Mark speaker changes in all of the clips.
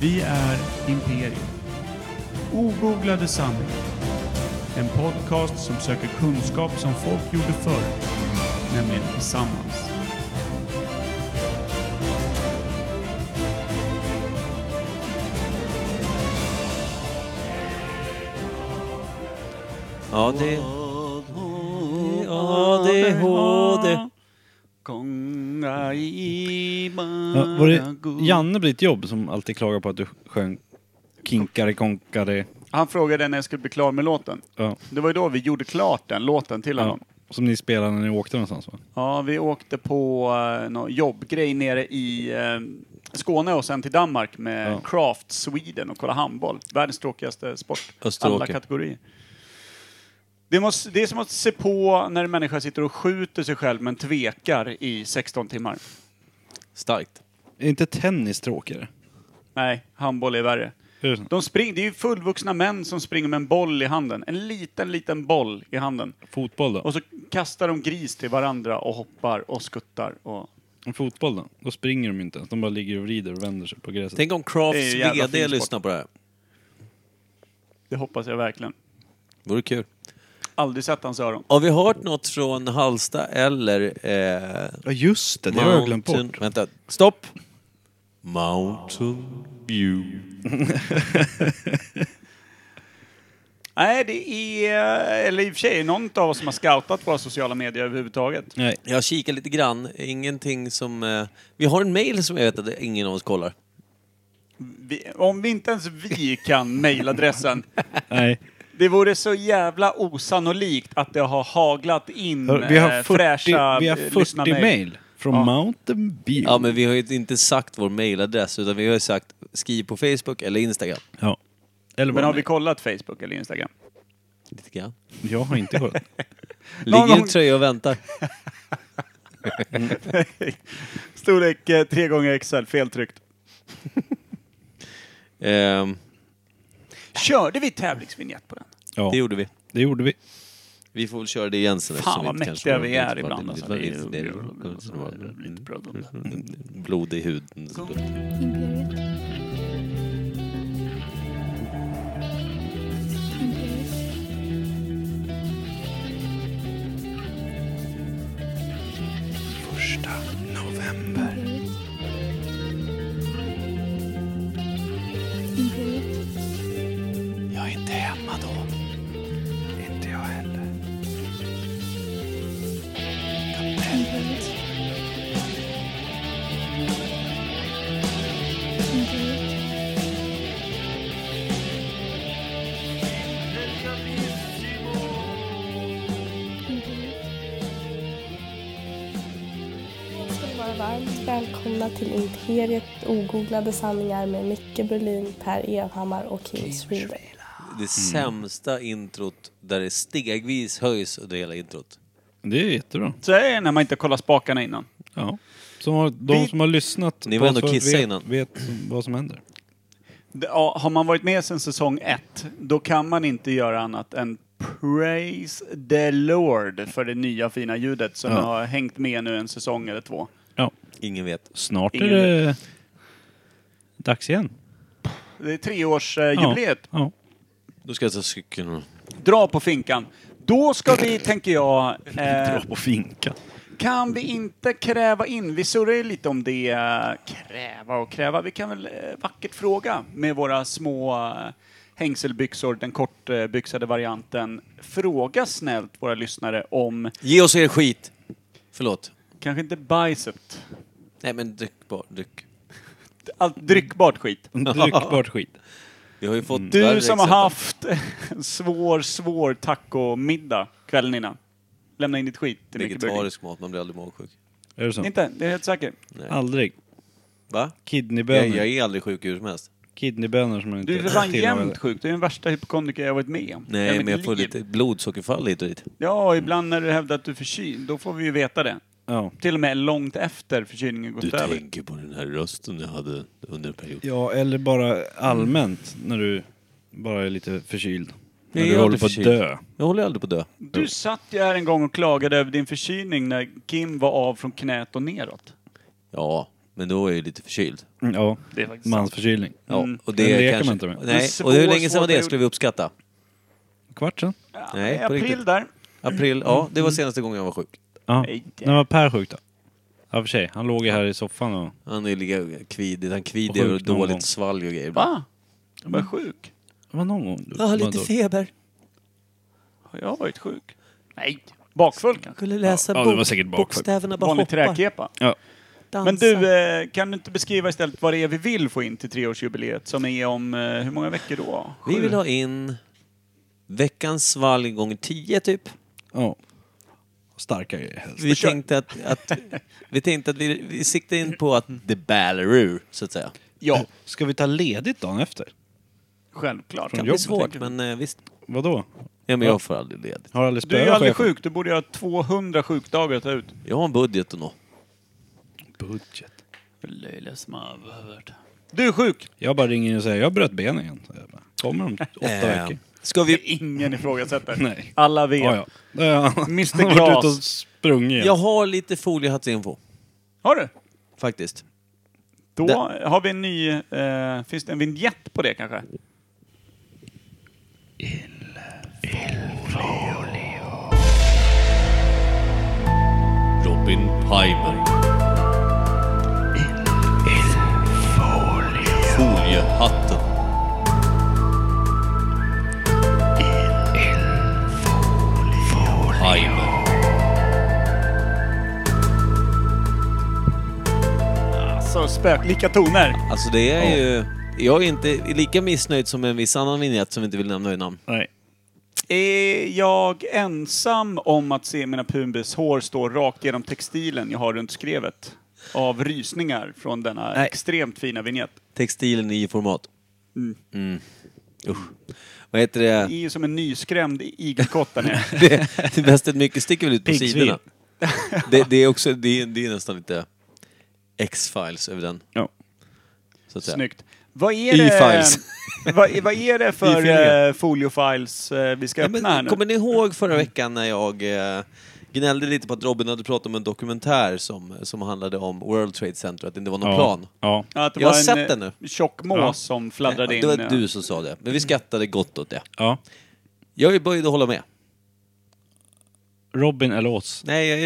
Speaker 1: Vi är Imperium. Ogooglade sanningar. En podcast som söker kunskap som folk gjorde förr, nämligen tillsammans.
Speaker 2: Ja, det... ADHD.
Speaker 3: Ja, Var det Janne på ditt jobb som alltid klagar på att du sjöng kinkare konkare?
Speaker 1: Han frågade när jag skulle bli klar med låten.
Speaker 3: Ja.
Speaker 1: Det var ju då vi gjorde klart den låten till
Speaker 3: ja.
Speaker 1: honom.
Speaker 3: Som ni spelade när ni åkte någonstans va?
Speaker 1: Ja, vi åkte på uh, någon jobbgrej nere i eh, Skåne och sen till Danmark med
Speaker 3: Ja.
Speaker 1: Craft Sweden och kolla handboll. Världens tråkigaste sport.
Speaker 2: Österåker.
Speaker 1: Alla kategorier. Det, måste, det är som att se på när en människa sitter och skjuter sig själv men tvekar i 16 timmar.
Speaker 2: Starkt.
Speaker 3: Är inte tennis tråkigare?
Speaker 1: Nej, handboll är värre.
Speaker 3: Är det så?
Speaker 1: De spring, det är ju fullvuxna män som springer med en boll i handen. En liten, liten boll i handen.
Speaker 3: Fotboll då?
Speaker 1: Och så kastar de gris till varandra och hoppar och skuttar. Och
Speaker 3: Fotboll då? Då springer de ju inte ens. De bara ligger och vrider och vänder sig på gräset.
Speaker 2: Tänk om
Speaker 1: Det är
Speaker 2: Crafts
Speaker 1: ju jävla fin
Speaker 2: VD
Speaker 1: sport.
Speaker 2: lyssnar på det här.
Speaker 1: det hoppas jag verkligen.
Speaker 2: Vore kul.
Speaker 1: Aldrig sett hans öron.
Speaker 2: Har vi hört något från Halsta eller... Eh,
Speaker 3: Ja just det,
Speaker 2: Mountain- Vänta, stopp! Mountain View.
Speaker 1: Nej, det är... Eller i och för sig, är det någon av oss som har scoutat våra sociala medier överhuvudtaget?
Speaker 3: Nej.
Speaker 2: Jag kikar lite grann, ingenting som... Eh, vi har en mail som jag vet att ingen av oss kollar.
Speaker 1: Vi, om vi inte ens vi kan mailadressen.
Speaker 3: Nej.
Speaker 1: Det vore så jävla osannolikt att det har haglat in
Speaker 3: Hör, Vi
Speaker 1: eh,
Speaker 3: har 40,
Speaker 1: fräscha
Speaker 3: vi har
Speaker 1: eh,
Speaker 3: 40
Speaker 1: lyssnarmail.
Speaker 3: mail från
Speaker 1: Ja.
Speaker 3: Mountain View.
Speaker 2: Ja, men vi har ju inte sagt vår mailadress utan vi har ju sagt skriv på Facebook eller Instagram.
Speaker 3: Ja. Eller
Speaker 1: Men
Speaker 3: vad
Speaker 1: har
Speaker 3: det
Speaker 1: vi kollat Facebook eller Instagram?
Speaker 2: Lite grann.
Speaker 3: är. Jag har inte kollat.
Speaker 1: Någon
Speaker 2: Ligger i
Speaker 1: gång-
Speaker 2: en tröja och väntar.
Speaker 1: Storlek eh, tre gånger XL, feltryckt.
Speaker 2: Ehm,
Speaker 1: Körde vi tävlingsvinjett på den?
Speaker 3: Ja,
Speaker 2: det gjorde vi.
Speaker 3: det gjorde vi.
Speaker 2: Vi får väl köra det igen sen.
Speaker 1: Fan,
Speaker 2: eftersom
Speaker 1: vad
Speaker 2: vi inte
Speaker 1: mäktiga
Speaker 2: kanske-
Speaker 1: vi är
Speaker 2: inte-
Speaker 1: ibland,
Speaker 2: inte-
Speaker 1: alltså. Det är- Mm.
Speaker 2: inte- det är- mm. Blod i huden.
Speaker 4: Imperiet. Imperiet.
Speaker 3: Första november.
Speaker 4: Imperiet. Imperiet.
Speaker 3: Jag är inte hemma då. Inte jag heller.
Speaker 4: Imperiet. Imperiet.
Speaker 5: ska ni vara varmt välkomna till Imperiet ogooglade sanningar med Micke Berlin, Per Evhammar och Kim Schreeder.
Speaker 1: Mm.
Speaker 2: Det sämsta introt där det stegvis höjs under hela introt.
Speaker 3: Det är jättebra.
Speaker 1: Så är det när man inte kollar spakarna innan.
Speaker 3: Ja. Som har, de
Speaker 1: Vi-
Speaker 3: som har lyssnat
Speaker 2: Ni
Speaker 3: på
Speaker 2: var
Speaker 3: oss
Speaker 2: ändå
Speaker 3: förut
Speaker 2: kissa
Speaker 3: vet,
Speaker 2: innan.
Speaker 3: vet som- vad som händer.
Speaker 1: Det- ja, Har man varit med sedan säsong ett, då kan man inte göra annat än praise the Lord för det nya fina ljudet som
Speaker 3: Ja.
Speaker 1: har hängt med nu en säsong eller två.
Speaker 3: Ja.
Speaker 2: Ingen vet.
Speaker 3: Snart
Speaker 1: Ingen
Speaker 3: är det dags igen.
Speaker 1: Det är eh, treårsjubileet.
Speaker 3: Ja.
Speaker 2: Då ska jag ta cykeln.
Speaker 1: Dra på finkan. Då ska vi, tänker jag,
Speaker 3: Ja.
Speaker 1: eh,
Speaker 3: Dra på finka.
Speaker 1: kan vi inte kräva in, vi surrar ju lite om det, eh, kräva och kräva, vi kan väl eh, vackert fråga med våra små eh, hängselbyxor, den kortbyxade varianten. Fråga snällt våra lyssnare om
Speaker 2: Ge oss er skit! Förlåt.
Speaker 1: Kanske inte bajset.
Speaker 2: Nej men dryck bara, dryck.
Speaker 1: Allt dryckbart skit.
Speaker 3: Dryckbart skit.
Speaker 2: Vi har ju fått
Speaker 1: Mm. Du
Speaker 2: värre
Speaker 1: som har
Speaker 2: exempel.
Speaker 1: haft en svår, svår tacomiddag kvällen innan. Lämna in ditt skit till Micke Burling.
Speaker 2: Vegetarisk mat, man blir aldrig magsjuk.
Speaker 3: Är det så?
Speaker 1: Inte? Det är jag helt säker.
Speaker 3: Aldrig.
Speaker 2: Va? Jag,
Speaker 3: Kidneybönor.
Speaker 2: jag är aldrig sjuk hur som helst.
Speaker 3: Kidneybönor som man inte
Speaker 1: Du är för fan
Speaker 3: tillagar.
Speaker 1: jämnt sjuk. Du är den värsta hypokondriker jag har varit med om.
Speaker 2: Nej
Speaker 1: Hela
Speaker 2: men
Speaker 1: mitt
Speaker 2: jag får
Speaker 1: liv.
Speaker 2: lite blodsockerfall hit och dit.
Speaker 1: Ja, och ibland när du hävdar att du är förkyld, då får vi ju veta det.
Speaker 3: Ja.
Speaker 1: Till och med långt efter förkylningen gått
Speaker 2: Du
Speaker 1: över.
Speaker 2: tänker på den här rösten jag hade under en period.
Speaker 3: ja, eller bara allmänt när du bara är lite förkyld. När
Speaker 2: jag
Speaker 3: du
Speaker 2: är
Speaker 3: håller
Speaker 2: inte
Speaker 3: på att
Speaker 2: förkyld.
Speaker 3: dö.
Speaker 2: Jag håller aldrig på att dö.
Speaker 1: Du satt ju här en gång och klagade över din förkylning när Kim var av från knät och neråt.
Speaker 2: Ja, Men då var jag ju lite förkyld.
Speaker 3: Mm, Ja,
Speaker 1: Det är faktiskt sant.
Speaker 3: mansförkylning.
Speaker 2: Ja,
Speaker 1: Mm.
Speaker 2: och
Speaker 3: Den
Speaker 2: det
Speaker 3: leker
Speaker 2: kanske...
Speaker 3: man inte med.
Speaker 1: En
Speaker 2: Nej,
Speaker 1: svår,
Speaker 2: och hur länge sedan var
Speaker 1: svår
Speaker 2: det skulle vi uppskatta?
Speaker 3: Kvart sen.
Speaker 1: Ja,
Speaker 2: Nej,
Speaker 1: i
Speaker 2: på
Speaker 1: april
Speaker 2: riktigt.
Speaker 1: där.
Speaker 2: April? Ja, det var senaste gången jag var sjuk.
Speaker 3: Ja.
Speaker 1: Nej.
Speaker 3: När var Per sjuk då? Ja, för sig. Han låg ju här i soffan och...
Speaker 2: Han är lika kvidig, han
Speaker 3: Och
Speaker 2: kvider
Speaker 3: sjuk
Speaker 2: och
Speaker 3: någon
Speaker 2: dåligt
Speaker 3: gång.
Speaker 2: svalg och grejer.
Speaker 1: Va? Jag var sjuk.
Speaker 3: Det var någon gång. du-
Speaker 2: Jag har
Speaker 3: var
Speaker 2: lite
Speaker 3: då-
Speaker 2: feber.
Speaker 1: Har jag varit sjuk? Nej. Bakfull kanske.
Speaker 2: Skulle läsa
Speaker 3: Ja, det var
Speaker 2: bok.
Speaker 3: säkert bakfull.
Speaker 2: bokstäverna bara
Speaker 1: Vanlig
Speaker 2: hoppar.
Speaker 1: träkepa.
Speaker 3: Ja.
Speaker 2: Dansa.
Speaker 1: Men du, eh, kan du inte beskriva istället vad det är vi vill få in till treårsjubileet som är om eh, hur många veckor då?
Speaker 2: Vi vill ha in veckans svalg gånger 10 typ.
Speaker 3: ja. Starka grejer helst.
Speaker 2: Vi tänkte att, att, vi, tänkte att vi, vi siktade in på att the Ballaroo, så att säga.
Speaker 1: Ja,
Speaker 3: Ska vi ta ledigt dagen efter?
Speaker 1: självklart.
Speaker 3: Från
Speaker 2: Det är
Speaker 3: jobbet,
Speaker 2: svårt,
Speaker 3: tänker
Speaker 2: men eh, visst.
Speaker 3: Vadå?
Speaker 2: Ja, men jag får aldrig ledigt.
Speaker 3: Har aldrig
Speaker 1: Du
Speaker 3: spöat
Speaker 1: är ju aldrig
Speaker 3: chefen?
Speaker 1: sjuk, du borde ju ha 200 sjukdagar att ta ut.
Speaker 2: Jag har en budget att nå.
Speaker 3: Budget.
Speaker 1: Du är sjuk!
Speaker 3: Jag bara ringer och säger jag bröt benen igen. Så jag bara, Kommer om åtta
Speaker 1: Ehm.
Speaker 2: Eh,
Speaker 3: veckor.
Speaker 2: Ska vi...
Speaker 1: Ingen ifrågasätter.
Speaker 3: Nej.
Speaker 1: Alla vet.
Speaker 3: Ja, ja. Då har jag-
Speaker 1: Mr.
Speaker 3: Han har varit
Speaker 1: Glas.
Speaker 3: ute och sprungit igen.
Speaker 2: Jag har lite foliehattsinfo,
Speaker 1: Har du?
Speaker 2: faktiskt.
Speaker 1: Då
Speaker 2: Där.
Speaker 1: har vi en ny... Eh, finns det en vignett på det kanske?
Speaker 2: Robin Pimer. Foliehatten. Pimer.
Speaker 1: Alltså, spöklika toner.
Speaker 2: Alltså det är ju... Jag är inte lika missnöjd som en viss annan vignett som vi inte vill nämna vid namn.
Speaker 3: Nej.
Speaker 1: Är jag ensam om att se mina pumbis hår stå rakt genom textilen jag har runt skrevet? Av rysningar från denna
Speaker 2: Nej.
Speaker 1: extremt fina vignett.
Speaker 2: Textilen i format. Mm. Usch. Vad heter det?
Speaker 1: Det är ju som en nyskrämd igelkott där nere.
Speaker 2: det, det bästa är att mycket sticker väl ut på
Speaker 3: Piggsvin.
Speaker 2: sidorna. Det, det är också, det är, det är nästan lite X-files över den.
Speaker 3: Ja.
Speaker 2: Så att säga.
Speaker 1: Snyggt. Vad är det,
Speaker 2: E-files.
Speaker 1: vad, vad är det för
Speaker 2: E-filingar.
Speaker 1: eh, foliofiles eh, vi ska
Speaker 2: Ja,
Speaker 1: öppna här
Speaker 2: men,
Speaker 1: nu?
Speaker 2: kommer ni ihåg förra veckan när jag eh, gnällde lite på att Robin hade pratat om en dokumentär som, som handlade om World Trade Center, att det inte var någon plan?
Speaker 3: Ja.
Speaker 1: Att det
Speaker 2: Jag har
Speaker 1: var en,
Speaker 2: sett den nu.
Speaker 1: eh, Tjock mås
Speaker 3: Ja.
Speaker 1: som fladdrade
Speaker 2: Nej,
Speaker 1: in.
Speaker 2: det var
Speaker 1: eh,
Speaker 2: du som sa det, men vi skrattade gott åt det.
Speaker 3: ja.
Speaker 2: Jag är böjd att hålla med.
Speaker 3: Robin eller oss.
Speaker 2: Nej, jag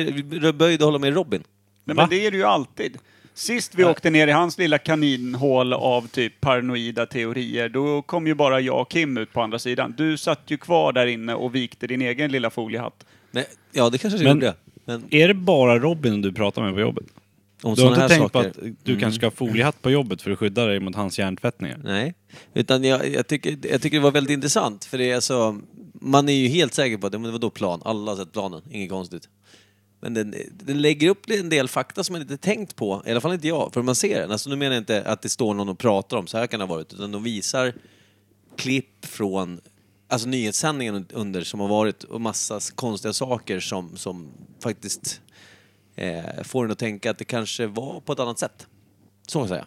Speaker 2: är böjd att hålla med Robin.
Speaker 1: Nej,
Speaker 3: Va?
Speaker 1: men det är det ju alltid. Sist vi åkte ner i hans lilla kaninhål av typ paranoida teorier, då kom ju bara jag och Kim ut på andra sidan. Du satt ju kvar där inne och vikte din egen lilla foliehatt.
Speaker 2: Men, ja, det kanske jag
Speaker 3: Men-
Speaker 2: gjorde. Men
Speaker 3: Är det bara Robin du pratar med på jobbet?
Speaker 2: om
Speaker 3: Du har
Speaker 2: sådana här
Speaker 3: inte tänkt
Speaker 2: saker... Mm.
Speaker 3: på att du kanske ska ha foliehatt på jobbet för att skydda dig mot hans hjärntvättningar?
Speaker 2: Nej, utan jag, jag, tycker, jag tycker det var väldigt intressant för det är så, man är ju helt säker på att ja, men det var då plan, alla har sett planen, inget konstigt. Men den, den lägger upp en del fakta som man inte tänkt på, i alla fall inte jag, för man ser den. Alltså nu menar jag inte att det står någon och pratar om, så här kan det ha varit, utan de visar klipp från alltså nyhetssändningen under som har varit och massa konstiga saker som, som faktiskt eh, får en att tänka att det kanske var på ett annat sätt. Så att säga.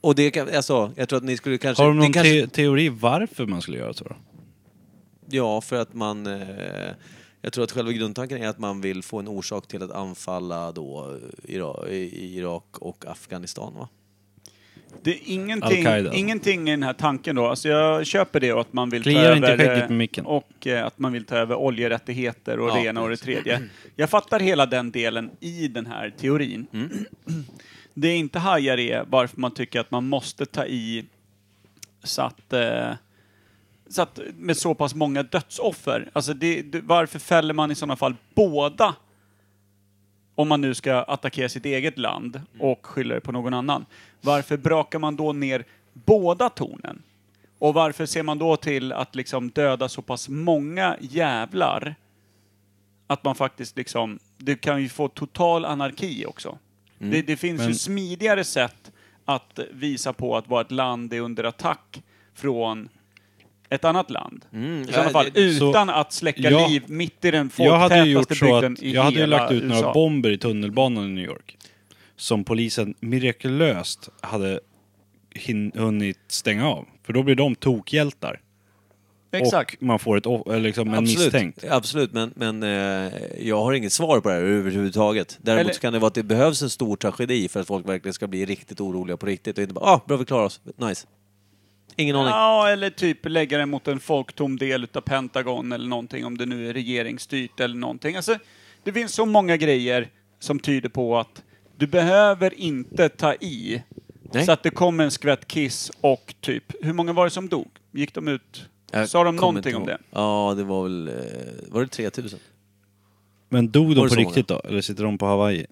Speaker 2: Och det kan, alltså, jag tror att ni skulle kanske...
Speaker 3: Mm. Har de
Speaker 2: det
Speaker 3: någon
Speaker 2: kanske,
Speaker 3: te- teori varför man skulle göra så då?
Speaker 2: Ja, för att man... Eh, jag tror att själva grundtanken är att man vill få en orsak till att anfalla då Ira, i- Irak och Afghanistan, va?
Speaker 1: Det är ingenting,
Speaker 3: Al-Qaida.
Speaker 1: ingenting i den här tanken då. Alltså jag köper det och att man vill ta
Speaker 3: Kliar inte
Speaker 1: över...
Speaker 3: skägget
Speaker 1: eh,
Speaker 3: med micken.
Speaker 1: Och eh, att man vill ta över oljerättigheter och det
Speaker 2: Ja,
Speaker 1: ena och det tredje. Jag fattar hela den delen i den här teorin.
Speaker 3: Mm.
Speaker 1: Det jag inte hajar är varför man tycker att man måste ta i så att, eh, så att med så pass många dödsoffer. Alltså det, det, varför fäller man i sådana fall båda om man nu ska attackera sitt eget land
Speaker 3: Mm.
Speaker 1: och skyller det på någon annan. Varför brakar man då ner båda tornen? Och varför ser man då till att liksom döda så pass många jävlar att man faktiskt liksom, det kan ju få total anarki också. Det, det finns ju
Speaker 3: Mm. men-
Speaker 1: smidigare sätt att visa på att vårt land är under attack från ett annat land.
Speaker 3: Mm.
Speaker 1: I sådana
Speaker 2: ja,
Speaker 1: fall
Speaker 2: det-
Speaker 1: utan
Speaker 3: så-
Speaker 1: att släcka
Speaker 3: Ja.
Speaker 1: liv mitt i den
Speaker 3: Jag hade ju
Speaker 1: folktätaste
Speaker 3: gjort så
Speaker 1: bygden
Speaker 3: att
Speaker 1: i
Speaker 3: jag hade ju
Speaker 1: hela
Speaker 3: lagt ut
Speaker 1: USA.
Speaker 3: några bomber i tunnelbanan i New York. Som polisen mirakulöst hade hin- hunnit stänga av. För då blir de tokhjältar.
Speaker 1: Exakt.
Speaker 3: och man får ett, off- eller liksom en
Speaker 2: Absolut,
Speaker 3: misstänkt.
Speaker 2: absolut men, men eh, jag har inget svar på det här överhuvudtaget. Däremot
Speaker 1: Eller-
Speaker 2: så kan det vara att det behövs en stor tragedi för att folk verkligen ska bli riktigt oroliga på riktigt och inte bara ah, bra vi klarar oss, nice. Ingen aning.
Speaker 1: Ja, eller typ lägga den mot en folktom del utav Pentagon eller någonting, om det nu är regeringsstyrt eller någonting. Alltså, det finns så många grejer som tyder på att du behöver inte ta i
Speaker 2: Nej.
Speaker 1: så att det kommer en skvätt kiss och typ, hur många var det som dog? Gick de ut?
Speaker 2: Jag
Speaker 1: Sa de
Speaker 2: kommer
Speaker 1: någonting
Speaker 2: inte ihåg.
Speaker 1: om det?
Speaker 2: Ja, det var väl, eh, var det 3000?
Speaker 3: Men dog
Speaker 2: Var
Speaker 3: de
Speaker 2: det
Speaker 3: på
Speaker 2: så
Speaker 3: riktigt då? Eller sitter de på Hawaii?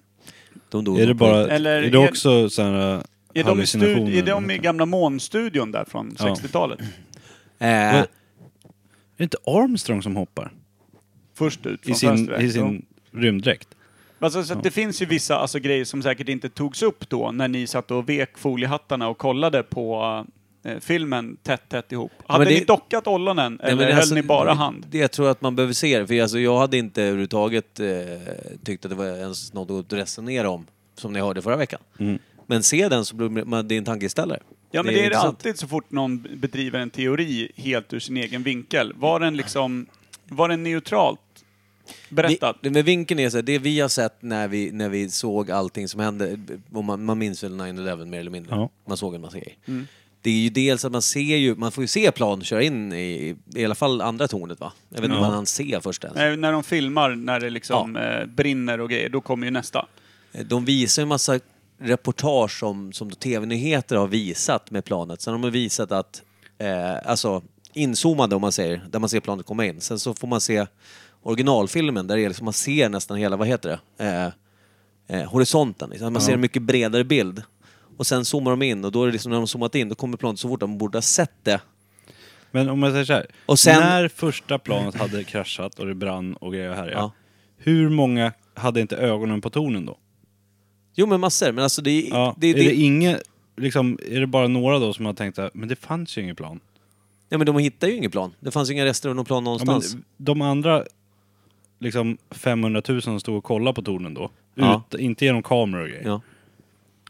Speaker 2: De dog
Speaker 3: Är det
Speaker 2: nog på
Speaker 3: bara...
Speaker 2: riktigt.
Speaker 1: Eller
Speaker 3: är det
Speaker 1: är-
Speaker 3: också sådana
Speaker 1: Är de, i stud-
Speaker 3: hallucinationer?
Speaker 1: är de i gamla månstudion där från
Speaker 3: Ja.
Speaker 1: 60-talet?
Speaker 2: Eh,
Speaker 3: Är det inte Armstrong som hoppar?
Speaker 1: Först ut från
Speaker 3: I sin,
Speaker 1: fönstret.
Speaker 3: i sin rymddräkt?
Speaker 1: Alltså, så att det finns ju vissa alltså, grejer som säkert inte togs upp då när ni satt och vek foliehattarna och kollade på eh, filmen tätt, tätt ihop. Hade
Speaker 2: men det-
Speaker 1: ni dockat ollonen
Speaker 2: Nej,
Speaker 1: eller
Speaker 2: men
Speaker 1: höll
Speaker 2: alltså,
Speaker 1: ni bara
Speaker 2: det-
Speaker 1: hand?
Speaker 2: Det, jag tror att man behöver se det, för alltså, jag hade inte överhuvudtaget eh, tyckt att det var ens något att resonera om, som ni hörde förra veckan. Men se den så blir man, det är en tankeställare.
Speaker 1: Ja, men det är det
Speaker 2: intressant.
Speaker 1: alltid så fort någon bedriver en teori helt ur sin egen vinkel. Var den liksom, var den neutralt berättad?
Speaker 2: Vi, men vinkeln är så här, det vi har sett när vi, när vi såg allting som hände, och man, man minns väl 9-11 mer eller mindre,
Speaker 3: Ja.
Speaker 2: man såg en massa grejer. Det är ju dels att man ser ju, man får ju se plan köra in i, i alla fall andra tornet va? Jag vet inte om man hann se först ens.
Speaker 1: Eh, När de filmar, när det liksom eh, brinner och grejer, då kommer ju nästa.
Speaker 2: Eh, De visar ju en massa reportage som, som då tv-nyheter har visat med planet. Sen har de visat att, eh, alltså inzoomade om man säger, där man ser planet komma in. Sen så får man se originalfilmen där det är liksom, man ser nästan hela, vad heter det, eh, eh, horisonten. Liksom. Man ser en mycket bredare bild. Och sen zoomar de in och då är det liksom när de zoomat in, då kommer planet så fort de borde ha sett det.
Speaker 3: Men om jag säger så här.
Speaker 2: Och sen-
Speaker 3: När första planet hade kraschat och det brann och grejer här, ja.
Speaker 2: Ja.
Speaker 3: Hur många hade inte ögonen på tornen då?
Speaker 2: Jo men massor, men alltså det, är-
Speaker 3: Ja.
Speaker 2: det,
Speaker 3: är det,
Speaker 2: det,
Speaker 3: inga, liksom, är det bara några då som har tänkt att men det fanns ju inget plan?
Speaker 2: ja, men de hittar ju inget plan. Det fanns ju inga rester av någon plan
Speaker 3: Ja, men,
Speaker 2: någonstans.
Speaker 3: de andra liksom 500 000 som stod och kollade på tornen då,
Speaker 2: Ja.
Speaker 3: ut, inte genom kameror och grejer,
Speaker 2: Ja.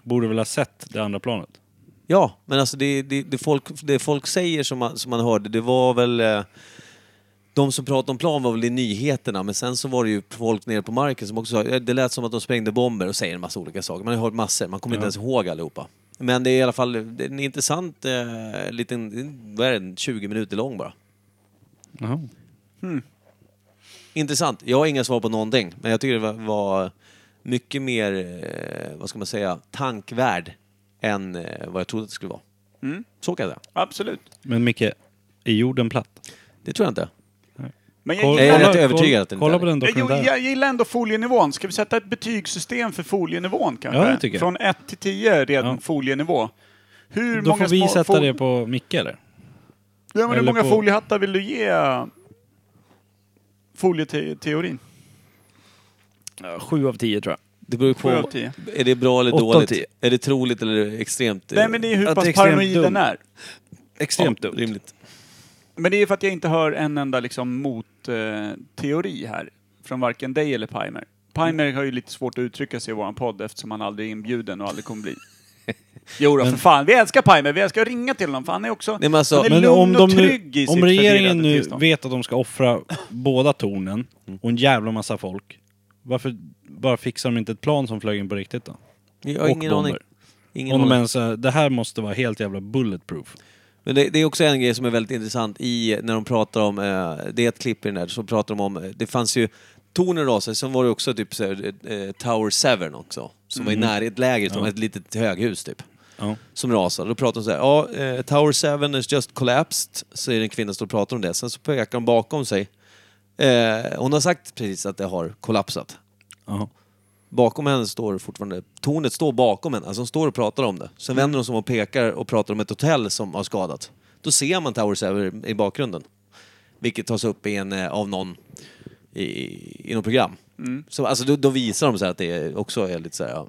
Speaker 3: borde väl ha sett det andra planet?
Speaker 2: Ja, men alltså det, det, det, folk, det folk säger som man, som man hörde, det var väl... eh, De som pratade om plan var väl i nyheterna, men sen så var det ju folk nere på marken som också sa, eh, det lät som att de sprängde bomber och säger en massa olika saker. Man har hört massor, man kommer inte ens ihåg allihopa. Men det är i alla fall det är en intressant eh, liten, vad är den, 20 minuter lång bara.
Speaker 3: Jaha.
Speaker 2: Intressant. Jag har inga svar på någonting, men jag tycker det var, var mycket mer, eh, vad ska man säga, tankvärd än eh, vad jag trodde att det skulle vara. Så kan jag säga.
Speaker 1: Absolut.
Speaker 3: Men Micke, är jorden platt?
Speaker 2: Det tror jag inte.
Speaker 1: Men jag,
Speaker 3: Kolla-
Speaker 2: Jag är
Speaker 1: gillar-
Speaker 2: rätt övertygad att det inte
Speaker 3: Kolla
Speaker 2: är
Speaker 3: på
Speaker 2: det.
Speaker 3: den
Speaker 1: Jag, jag,
Speaker 3: dokumentären.
Speaker 1: gillar ändå folienivån. Ska vi sätta ett betygssystem för folienivån kanske?
Speaker 3: Ja, det tycker jag.
Speaker 1: Från 1 till 10 redan
Speaker 3: Ja.
Speaker 1: folienivå. Hur
Speaker 3: Då
Speaker 1: många
Speaker 3: får vi
Speaker 1: små
Speaker 3: sätta
Speaker 1: fol-
Speaker 3: det på Micke eller?
Speaker 1: Ja, men hur
Speaker 3: eller
Speaker 1: många
Speaker 3: på-
Speaker 1: foliehattar vill du ge folieteorin?
Speaker 3: Sju av tio tror jag.
Speaker 2: Det beror ju på,
Speaker 1: Sju av tio.
Speaker 2: är det bra eller
Speaker 3: Åtta av
Speaker 2: dåligt?
Speaker 3: tio.
Speaker 2: Är det troligt eller extremt? eh,
Speaker 1: Nej, men det är hur
Speaker 3: att det är
Speaker 1: pass
Speaker 3: extremt
Speaker 1: paranoid
Speaker 3: dumt.
Speaker 1: den är.
Speaker 3: Extremt
Speaker 2: ja,
Speaker 3: dumt.
Speaker 2: Rimligt.
Speaker 1: Men det är för att jag inte hör en enda liksom motteori här. Från varken dig eller Pimer. Pimer har ju lite svårt att uttrycka sig i våran podd eftersom han aldrig är inbjuden och aldrig kommer bli. Jo då, för fan. Vi älskar Pimer. Vi älskar att ringa till honom för han är också...
Speaker 2: Nej, men alltså-
Speaker 1: han är
Speaker 3: Men
Speaker 1: lugn
Speaker 3: om, de
Speaker 1: och
Speaker 3: nu,
Speaker 1: trygg i
Speaker 3: om
Speaker 1: sitt
Speaker 3: regeringen
Speaker 1: förvirrade
Speaker 3: nu
Speaker 1: tillstånd.
Speaker 3: vet att de ska offra båda tornen och en jävla massa folk, varför bara fixar de inte ett plan som flög in på riktigt då?
Speaker 2: Jag har
Speaker 3: Och
Speaker 2: ingen
Speaker 3: bomber.
Speaker 2: aning. Ingen
Speaker 3: Om de
Speaker 2: aning.
Speaker 3: ens, eh, det här måste vara helt jävla bulletproof.
Speaker 2: Men det, det är också en grej som är väldigt intressant i när de pratar om, eh, det är ett klipp i den där, så pratar de om, eh, det fanns ju tornen rasade, sen var det också typ så här, eh, Tower 7 också, som var i närhet läger, som ett litet höghus typ.
Speaker 3: Ja.
Speaker 2: Som rasade. Då pratar de så här, ja, eh, Tower 7 has just collapsed, säger en kvinna som står och pratar om det. Sen så pekar de bakom sig. Eh, hon har sagt precis att det har kollapsat.
Speaker 3: Jaha.
Speaker 2: Bakom henne står fortfarande, tornet står bakom henne, alltså de står och pratar om det. Sen vänder de sig om och pekar och pratar om ett hotell som har skadat. Då ser man Tower Sever i bakgrunden. Vilket tas upp i en, eh, av någon i, i något program. Så, alltså, då, då visar de så här att det är- också är lite så här, ja,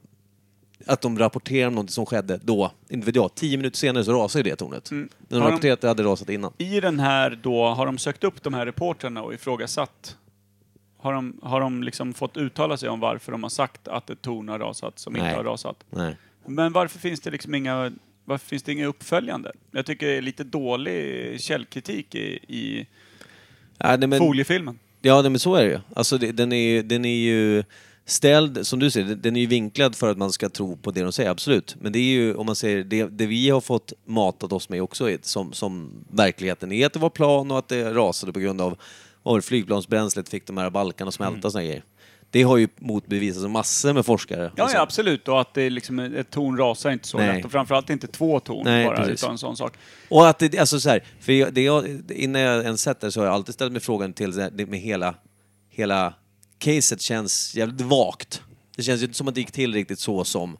Speaker 2: att de rapporterar om något som skedde då, inte vet jag, tio minuter senare så rasar ju det tornet. Men
Speaker 1: Har
Speaker 2: Mm. de
Speaker 1: de-
Speaker 2: rapporterar att det hade rasat innan.
Speaker 1: I den här då, har de sökt upp de här reportrarna och ifrågasatt? Har de, har de liksom fått uttala sig om varför de har sagt att ett torn har rasat som
Speaker 2: Nej.
Speaker 1: inte har rasat?
Speaker 2: Nej.
Speaker 1: Men varför finns det liksom inga Varför finns det inga uppföljande? Jag tycker det är lite dålig källkritik i, i
Speaker 2: Ja, nej, men,
Speaker 1: foliefilmen.
Speaker 2: ja, nej, men så är det ju. Alltså, det, den, är, ju- den är ju ställd, som du säger, den- den är ju vinklad för att man ska tro på det de säger, absolut. Men det är ju, om man säger, det, det vi har fått matat oss med också är, som, som verkligheten är att det var plan och att det rasade på grund av och flygplansbränslet fick de här balkarna att
Speaker 1: Mm.
Speaker 2: smälta och såna grejer. Det har ju motbevisats av massor med forskare. Alltså, och
Speaker 1: Ja,
Speaker 2: så.
Speaker 1: ja, absolut. Och att det är liksom, ett torn rasar inte så
Speaker 2: Nej.
Speaker 1: lätt. Och framförallt inte två torn
Speaker 2: Nej,
Speaker 1: bara,
Speaker 2: precis.
Speaker 1: utan en sån sak.
Speaker 2: Och att det, alltså så här, för jag, det jag, innan jag ens sett det så har jag alltid ställt mig frågan till det här, det med hela, hela caset känns jävligt vagt. Det känns ju inte som att det gick till riktigt så som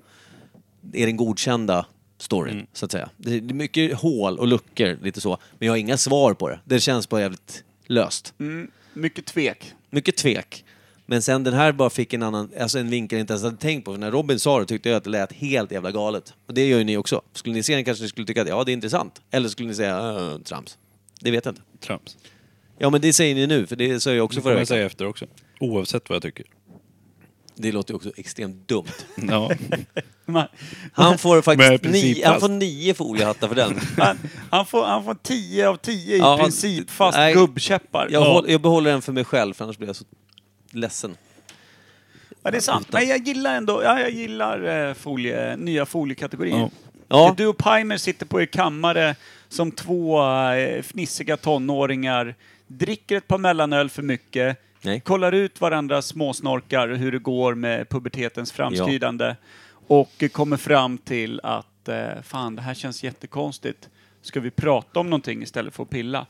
Speaker 2: är den godkända storyn, så att säga. Det är mycket hål och luckor, lite så. Men jag har inga svar på det. Det känns bara jävligt löst.
Speaker 1: Mm, mycket tvek.
Speaker 2: Mycket tvek. Men sen den här bara fick en annan, alltså en vinkel jag inte ens hade tänkt på. För när Robin sa det tyckte jag att det lät helt jävla galet. Och det gör ju ni också. Skulle ni se den kanske ni skulle tycka att ja, det är intressant. Eller skulle ni säga "Äh, trams. Det vet jag inte.
Speaker 3: Trams.
Speaker 2: Ja, men det säger ni nu, för det sa jag också
Speaker 3: Det kommer
Speaker 2: förra
Speaker 3: jag
Speaker 2: veckan.
Speaker 3: säga efter också. Oavsett vad jag tycker.
Speaker 2: Det låter ju också extremt dumt.
Speaker 3: Ja.
Speaker 1: Man-
Speaker 2: Han får
Speaker 3: Men
Speaker 2: faktiskt
Speaker 3: principfast.
Speaker 2: nio, han får nio foliehattar för den.
Speaker 1: Han, han, får, han får 10 av 10 i
Speaker 2: Ja, han-
Speaker 1: princip, fast
Speaker 2: nej.
Speaker 1: gubbkäppar.
Speaker 2: Jag,
Speaker 1: ja.
Speaker 2: håll, jag behåller den för mig själv, för annars blir jag så ledsen.
Speaker 1: Ja, det är sant. Men jag gillar ändå, ja, jag gillar eh, folie, nya foliekategorier.
Speaker 3: Ja.
Speaker 2: Ja.
Speaker 1: Du och Pimer sitter på er kammare som två eh, fnissiga tonåringar, dricker ett par mellanöl för mycket,
Speaker 2: Nej.
Speaker 1: kollar ut varandras småsnorkar och hur det går med pubertetens framskridande och eh, kommer fram till att eh, fan, det här känns jättekonstigt. Ska vi prata om någonting istället för att pilla?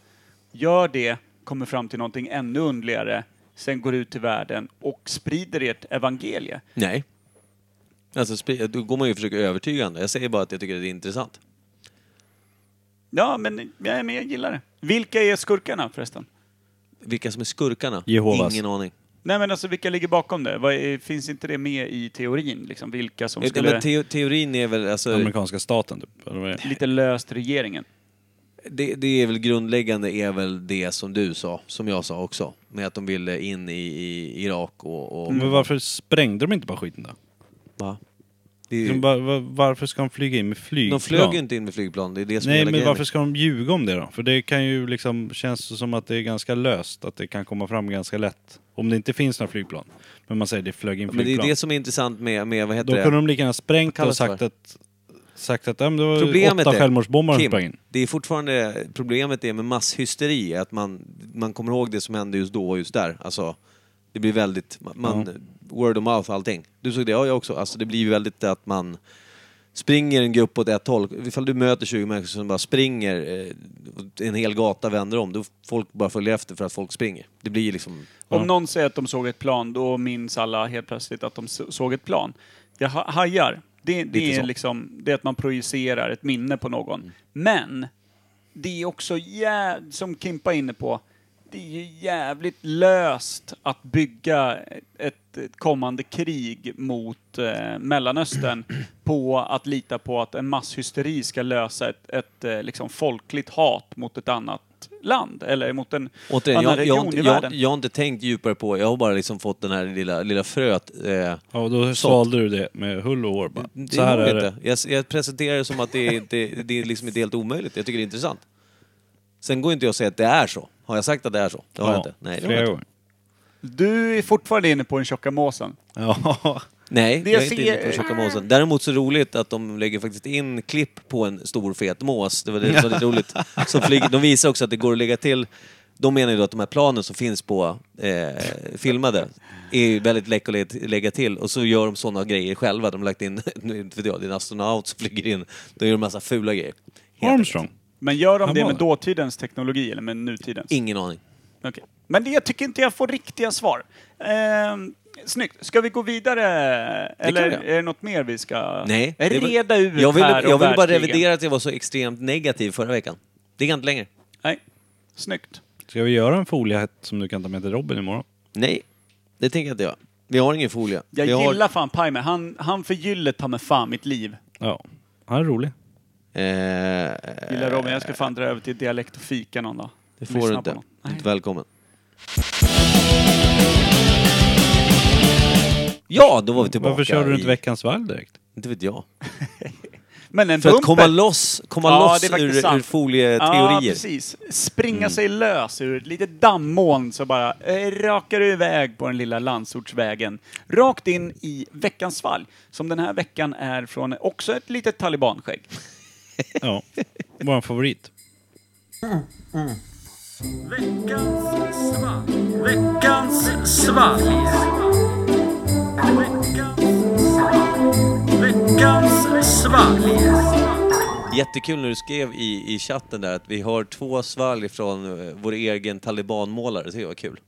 Speaker 1: Gör det, kommer fram till någonting ännu underligare, sen går ut till världen och sprider ert evangelie.
Speaker 2: Nej. Alltså, sp- då går man ju och försöker övertyga andra. Jag säger bara att jag tycker att det är intressant.
Speaker 1: Ja, men, ja, men jag gillar det. Vilka är skurkarna förresten?
Speaker 2: Vilka som är skurkarna?
Speaker 3: Jehovas.
Speaker 2: Ingen aning.
Speaker 1: Nej men alltså vilka ligger bakom det? Vad är, finns inte det med i teorin? Liksom, vilka som
Speaker 2: Ja,
Speaker 1: skulle...
Speaker 2: Men teo teorin är väl, alltså,
Speaker 3: Amerikanska staten typ. Eller vad är det?
Speaker 1: lite löst regeringen.
Speaker 2: det, det är väl grundläggande är väl det som du sa, som jag sa också. Med att de ville in i, i Irak och... och
Speaker 3: Men varför sprängde de inte bara skiten då?
Speaker 2: va? Det är, ju-
Speaker 3: De bara, va- varför ska de flyga in med flygplan?
Speaker 2: de flög ju inte in med flygplan, det är det som är
Speaker 3: Nej
Speaker 2: hela
Speaker 3: men
Speaker 2: grejen.
Speaker 3: varför ska de ljuga om det då? För det kan ju liksom, känns som att det är ganska löst. Att det kan komma fram ganska lätt. Om det inte finns några flygplan. Men man säger det flög in
Speaker 2: Men det
Speaker 3: flygplan.
Speaker 2: är det som är intressant med, med vad heter
Speaker 3: Då
Speaker 2: det?
Speaker 3: kunde de lika gärna sprängt det
Speaker 2: Kallas
Speaker 3: och sagt
Speaker 2: för.
Speaker 3: att, sagt att ja, men det var
Speaker 2: Problemet
Speaker 3: åtta
Speaker 2: är,
Speaker 3: självmordsbombare som
Speaker 2: Kim,
Speaker 3: sprang in.
Speaker 2: det är fortfarande problemet är med masshysteri, är att man, man kommer ihåg det som hände just då och just där. Alltså, det blir väldigt, man, word of mouth allting. Du såg det, ja jag också. Alltså det blir ju väldigt att man springer en grupp åt ett håll. Ifall du möter 20 människor som bara springer, eh, en hel gata vänder om, då folk bara följer efter för att folk springer. Det blir liksom...
Speaker 1: Om någon säger att de såg ett plan, då minns alla helt plötsligt att de s- såg ett plan. Jag ha- hajar. Det, det
Speaker 2: Lite
Speaker 1: är
Speaker 2: så. Mm.
Speaker 1: liksom, det är att man projicerar ett minne på någon. Men, det är också, jä- som Kimpa är inne på, det är ju jävligt löst att bygga ett, ett kommande krig mot eh, Mellanöstern på att lita på att en masshysteri ska lösa ett, ett eh, liksom folkligt hat mot ett annat land eller mot en
Speaker 2: Återigen,
Speaker 1: annan
Speaker 2: jag, jag, har
Speaker 1: region
Speaker 2: inte-
Speaker 1: i
Speaker 2: jag,
Speaker 1: världen.
Speaker 2: jag, har inte tänkt djupare på, jag har bara liksom fått den här lilla, lilla fröet. Eh,
Speaker 3: Ja, och då svalde du det med hull och hår bara.
Speaker 2: Det
Speaker 3: Så här
Speaker 2: nog
Speaker 3: är det.
Speaker 2: inte. Jag, jag presenterar det som att det, är- det, det är liksom inte helt omöjligt. Jag tycker det är intressant. Sen går inte jag att säga att det är så. Har jag sagt att det är så? Det har jag inte. Nej, det har
Speaker 3: flera
Speaker 2: jag inte.
Speaker 3: gånger.
Speaker 1: Du är fortfarande inne på den tjocka måsen.
Speaker 3: Ja.
Speaker 2: Nej,
Speaker 1: Det
Speaker 2: jag är
Speaker 1: jag
Speaker 2: inte inne
Speaker 1: ser-
Speaker 2: på att tjocka måsen. Däremot så roligt att de lägger faktiskt in klipp på en stor fet mås. Det var det som var lite roligt. Som flyger. De visar också att det går att lägga till. De menar ju då att de här planen som finns på eh, filmade är ju väldigt läck att lä- lägga till. Och så gör de sådana grejer själva. De har lagt in, nu vet inte jag, det är en astronaut som flyger in. De gör en massa fula grejer. Helt
Speaker 3: Armstrong.
Speaker 1: Men gör de
Speaker 3: Han
Speaker 1: det
Speaker 3: var
Speaker 1: med
Speaker 3: det.
Speaker 1: dåtidens teknologi eller med nutidens?
Speaker 2: Ingen aning.
Speaker 1: Okej. Men det, jag tycker inte jag får riktiga svar. Ehm, snyggt. Ska vi gå vidare? Eller
Speaker 2: vi göra.
Speaker 1: är det något mer vi ska
Speaker 2: Nej. det var-
Speaker 1: reda ut
Speaker 2: Jag ville,
Speaker 1: här om
Speaker 2: jag ville bara
Speaker 1: världskrigen?
Speaker 2: revidera att jag var så extremt negativ förra veckan. Det går inte längre.
Speaker 1: Nej. Snyggt.
Speaker 3: Ska vi göra en foliehatt som du kan ta med till Robin imorgon?
Speaker 2: Nej, det tänker jag inte göra. Vi har ingen folie.
Speaker 1: Jag
Speaker 2: vi har...
Speaker 1: gillar fan Pimer. Han, han förgyller ta med fan mitt liv.
Speaker 3: Ja. Han är rolig.
Speaker 2: Eh,
Speaker 1: Gillar Robin. Jag ska fan dra över till dialekt och fika någon dag.
Speaker 2: det får
Speaker 1: Lyssna
Speaker 2: du
Speaker 1: på
Speaker 2: inte.
Speaker 1: någon. Nej.
Speaker 2: Inte välkommen. Ja, då var vi tillbaka.
Speaker 3: Varför kör du inte
Speaker 2: i-
Speaker 3: veckans val direkt?
Speaker 2: Inte vet jag.
Speaker 1: Men en
Speaker 2: För att
Speaker 1: bumper...
Speaker 2: komma loss, komma
Speaker 1: Ja, det
Speaker 2: loss
Speaker 1: är faktiskt
Speaker 2: ur,
Speaker 1: sant.
Speaker 2: ur
Speaker 1: Ja,
Speaker 2: folieteorier.
Speaker 1: precis. Springa
Speaker 3: Mm.
Speaker 1: sig lös ur ett litet dammmoln så bara eh, rakar du iväg på den lilla landsortsvägen. Rakt in i veckans svalg, som den här veckan är från också ett litet talibanskägg.
Speaker 3: Ja. Vår favorit.
Speaker 2: Jättekul när du skrev i, i chatten där att vi har två svalg från eh, vår egen talibanmålare. Det tycker jag var kul.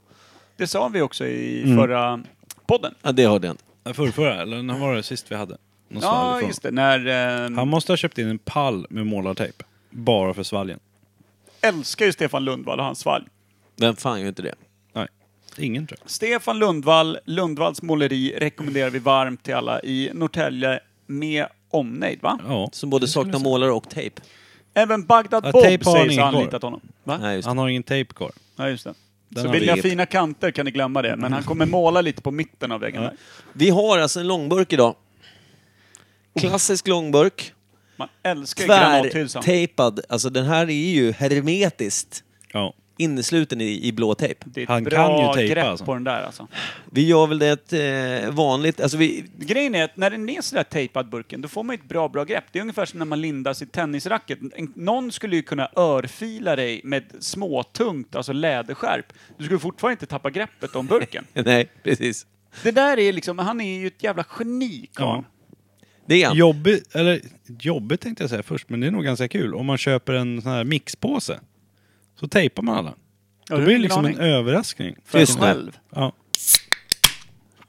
Speaker 1: Det sa vi också i
Speaker 3: Mm.
Speaker 1: förra podden.
Speaker 2: Ja, det hörde jag inte.
Speaker 3: Förrförra, Äh, eller när var det sist vi hade? Någon
Speaker 1: Ja,
Speaker 3: svalg ifrån.
Speaker 1: just det. När, eh,
Speaker 3: Han måste ha köpt in en pall med målartejp. Bara för svalgen.
Speaker 1: älskar ju Stefan Lundvall och hans svalg.
Speaker 2: Vem fan gör inte det?
Speaker 3: Nej, ingen tror jag.
Speaker 1: Stefan Lundvall, Lundvalls måleri rekommenderar vi varmt till alla i Norrtälje med omnejd, va?
Speaker 3: Ja.
Speaker 2: Som både saknar målare och tejp.
Speaker 1: Även Bagdad
Speaker 3: Ja,
Speaker 1: Bob
Speaker 3: tejp har han
Speaker 1: sägs
Speaker 3: ingen
Speaker 1: ha
Speaker 3: kvar.
Speaker 1: anlitat honom. Va?
Speaker 2: Nej, just det.
Speaker 3: Han har ingen tejp kvar.
Speaker 1: Ja, just det.
Speaker 3: Den
Speaker 1: så
Speaker 3: har
Speaker 1: vill ni ha
Speaker 2: vi-
Speaker 1: fina kanter kan ni glömma det, men han kommer måla lite på mitten av väggen där.
Speaker 2: Vi har alltså en långburk idag.
Speaker 1: Oh.
Speaker 2: Klassisk långburk.
Speaker 1: Man älskar ju granathylsan.
Speaker 2: Tvärtejpad. Alltså den här är ju hermetiskt
Speaker 3: Ja.
Speaker 2: innesluten i, i blå tejp.
Speaker 1: Det är ett
Speaker 3: Han
Speaker 1: bra
Speaker 3: kan ju tejpa,
Speaker 1: grepp
Speaker 3: alltså.
Speaker 1: på den där alltså.
Speaker 2: Vi gör väl det ett eh, vanligt... Alltså vi,
Speaker 1: Grejen är att när den är sådär tejpad burken, då får man ju ett bra, bra grepp. Det är ungefär som när man lindar sitt tennisracket. En- Någon skulle ju kunna örfila dig med ett småtungt, alltså läderskärp. Du skulle fortfarande inte tappa greppet om burken.
Speaker 2: nej, precis.
Speaker 1: Det där är liksom, han är ju ett jävla geni, karln.
Speaker 3: ja.
Speaker 2: Det är han.
Speaker 3: Jobbigt, eller jobbigt tänkte jag säga först, men det är nog ganska kul. Om man köper en sån här mixpåse. Så tejpar man alla.
Speaker 1: Ja,
Speaker 3: Då
Speaker 1: du
Speaker 3: blir
Speaker 1: har
Speaker 3: det liksom
Speaker 1: ingen
Speaker 3: en
Speaker 1: aning.
Speaker 3: överraskning.
Speaker 1: För
Speaker 2: Just
Speaker 1: sig
Speaker 2: det.
Speaker 1: själv.
Speaker 3: Ja.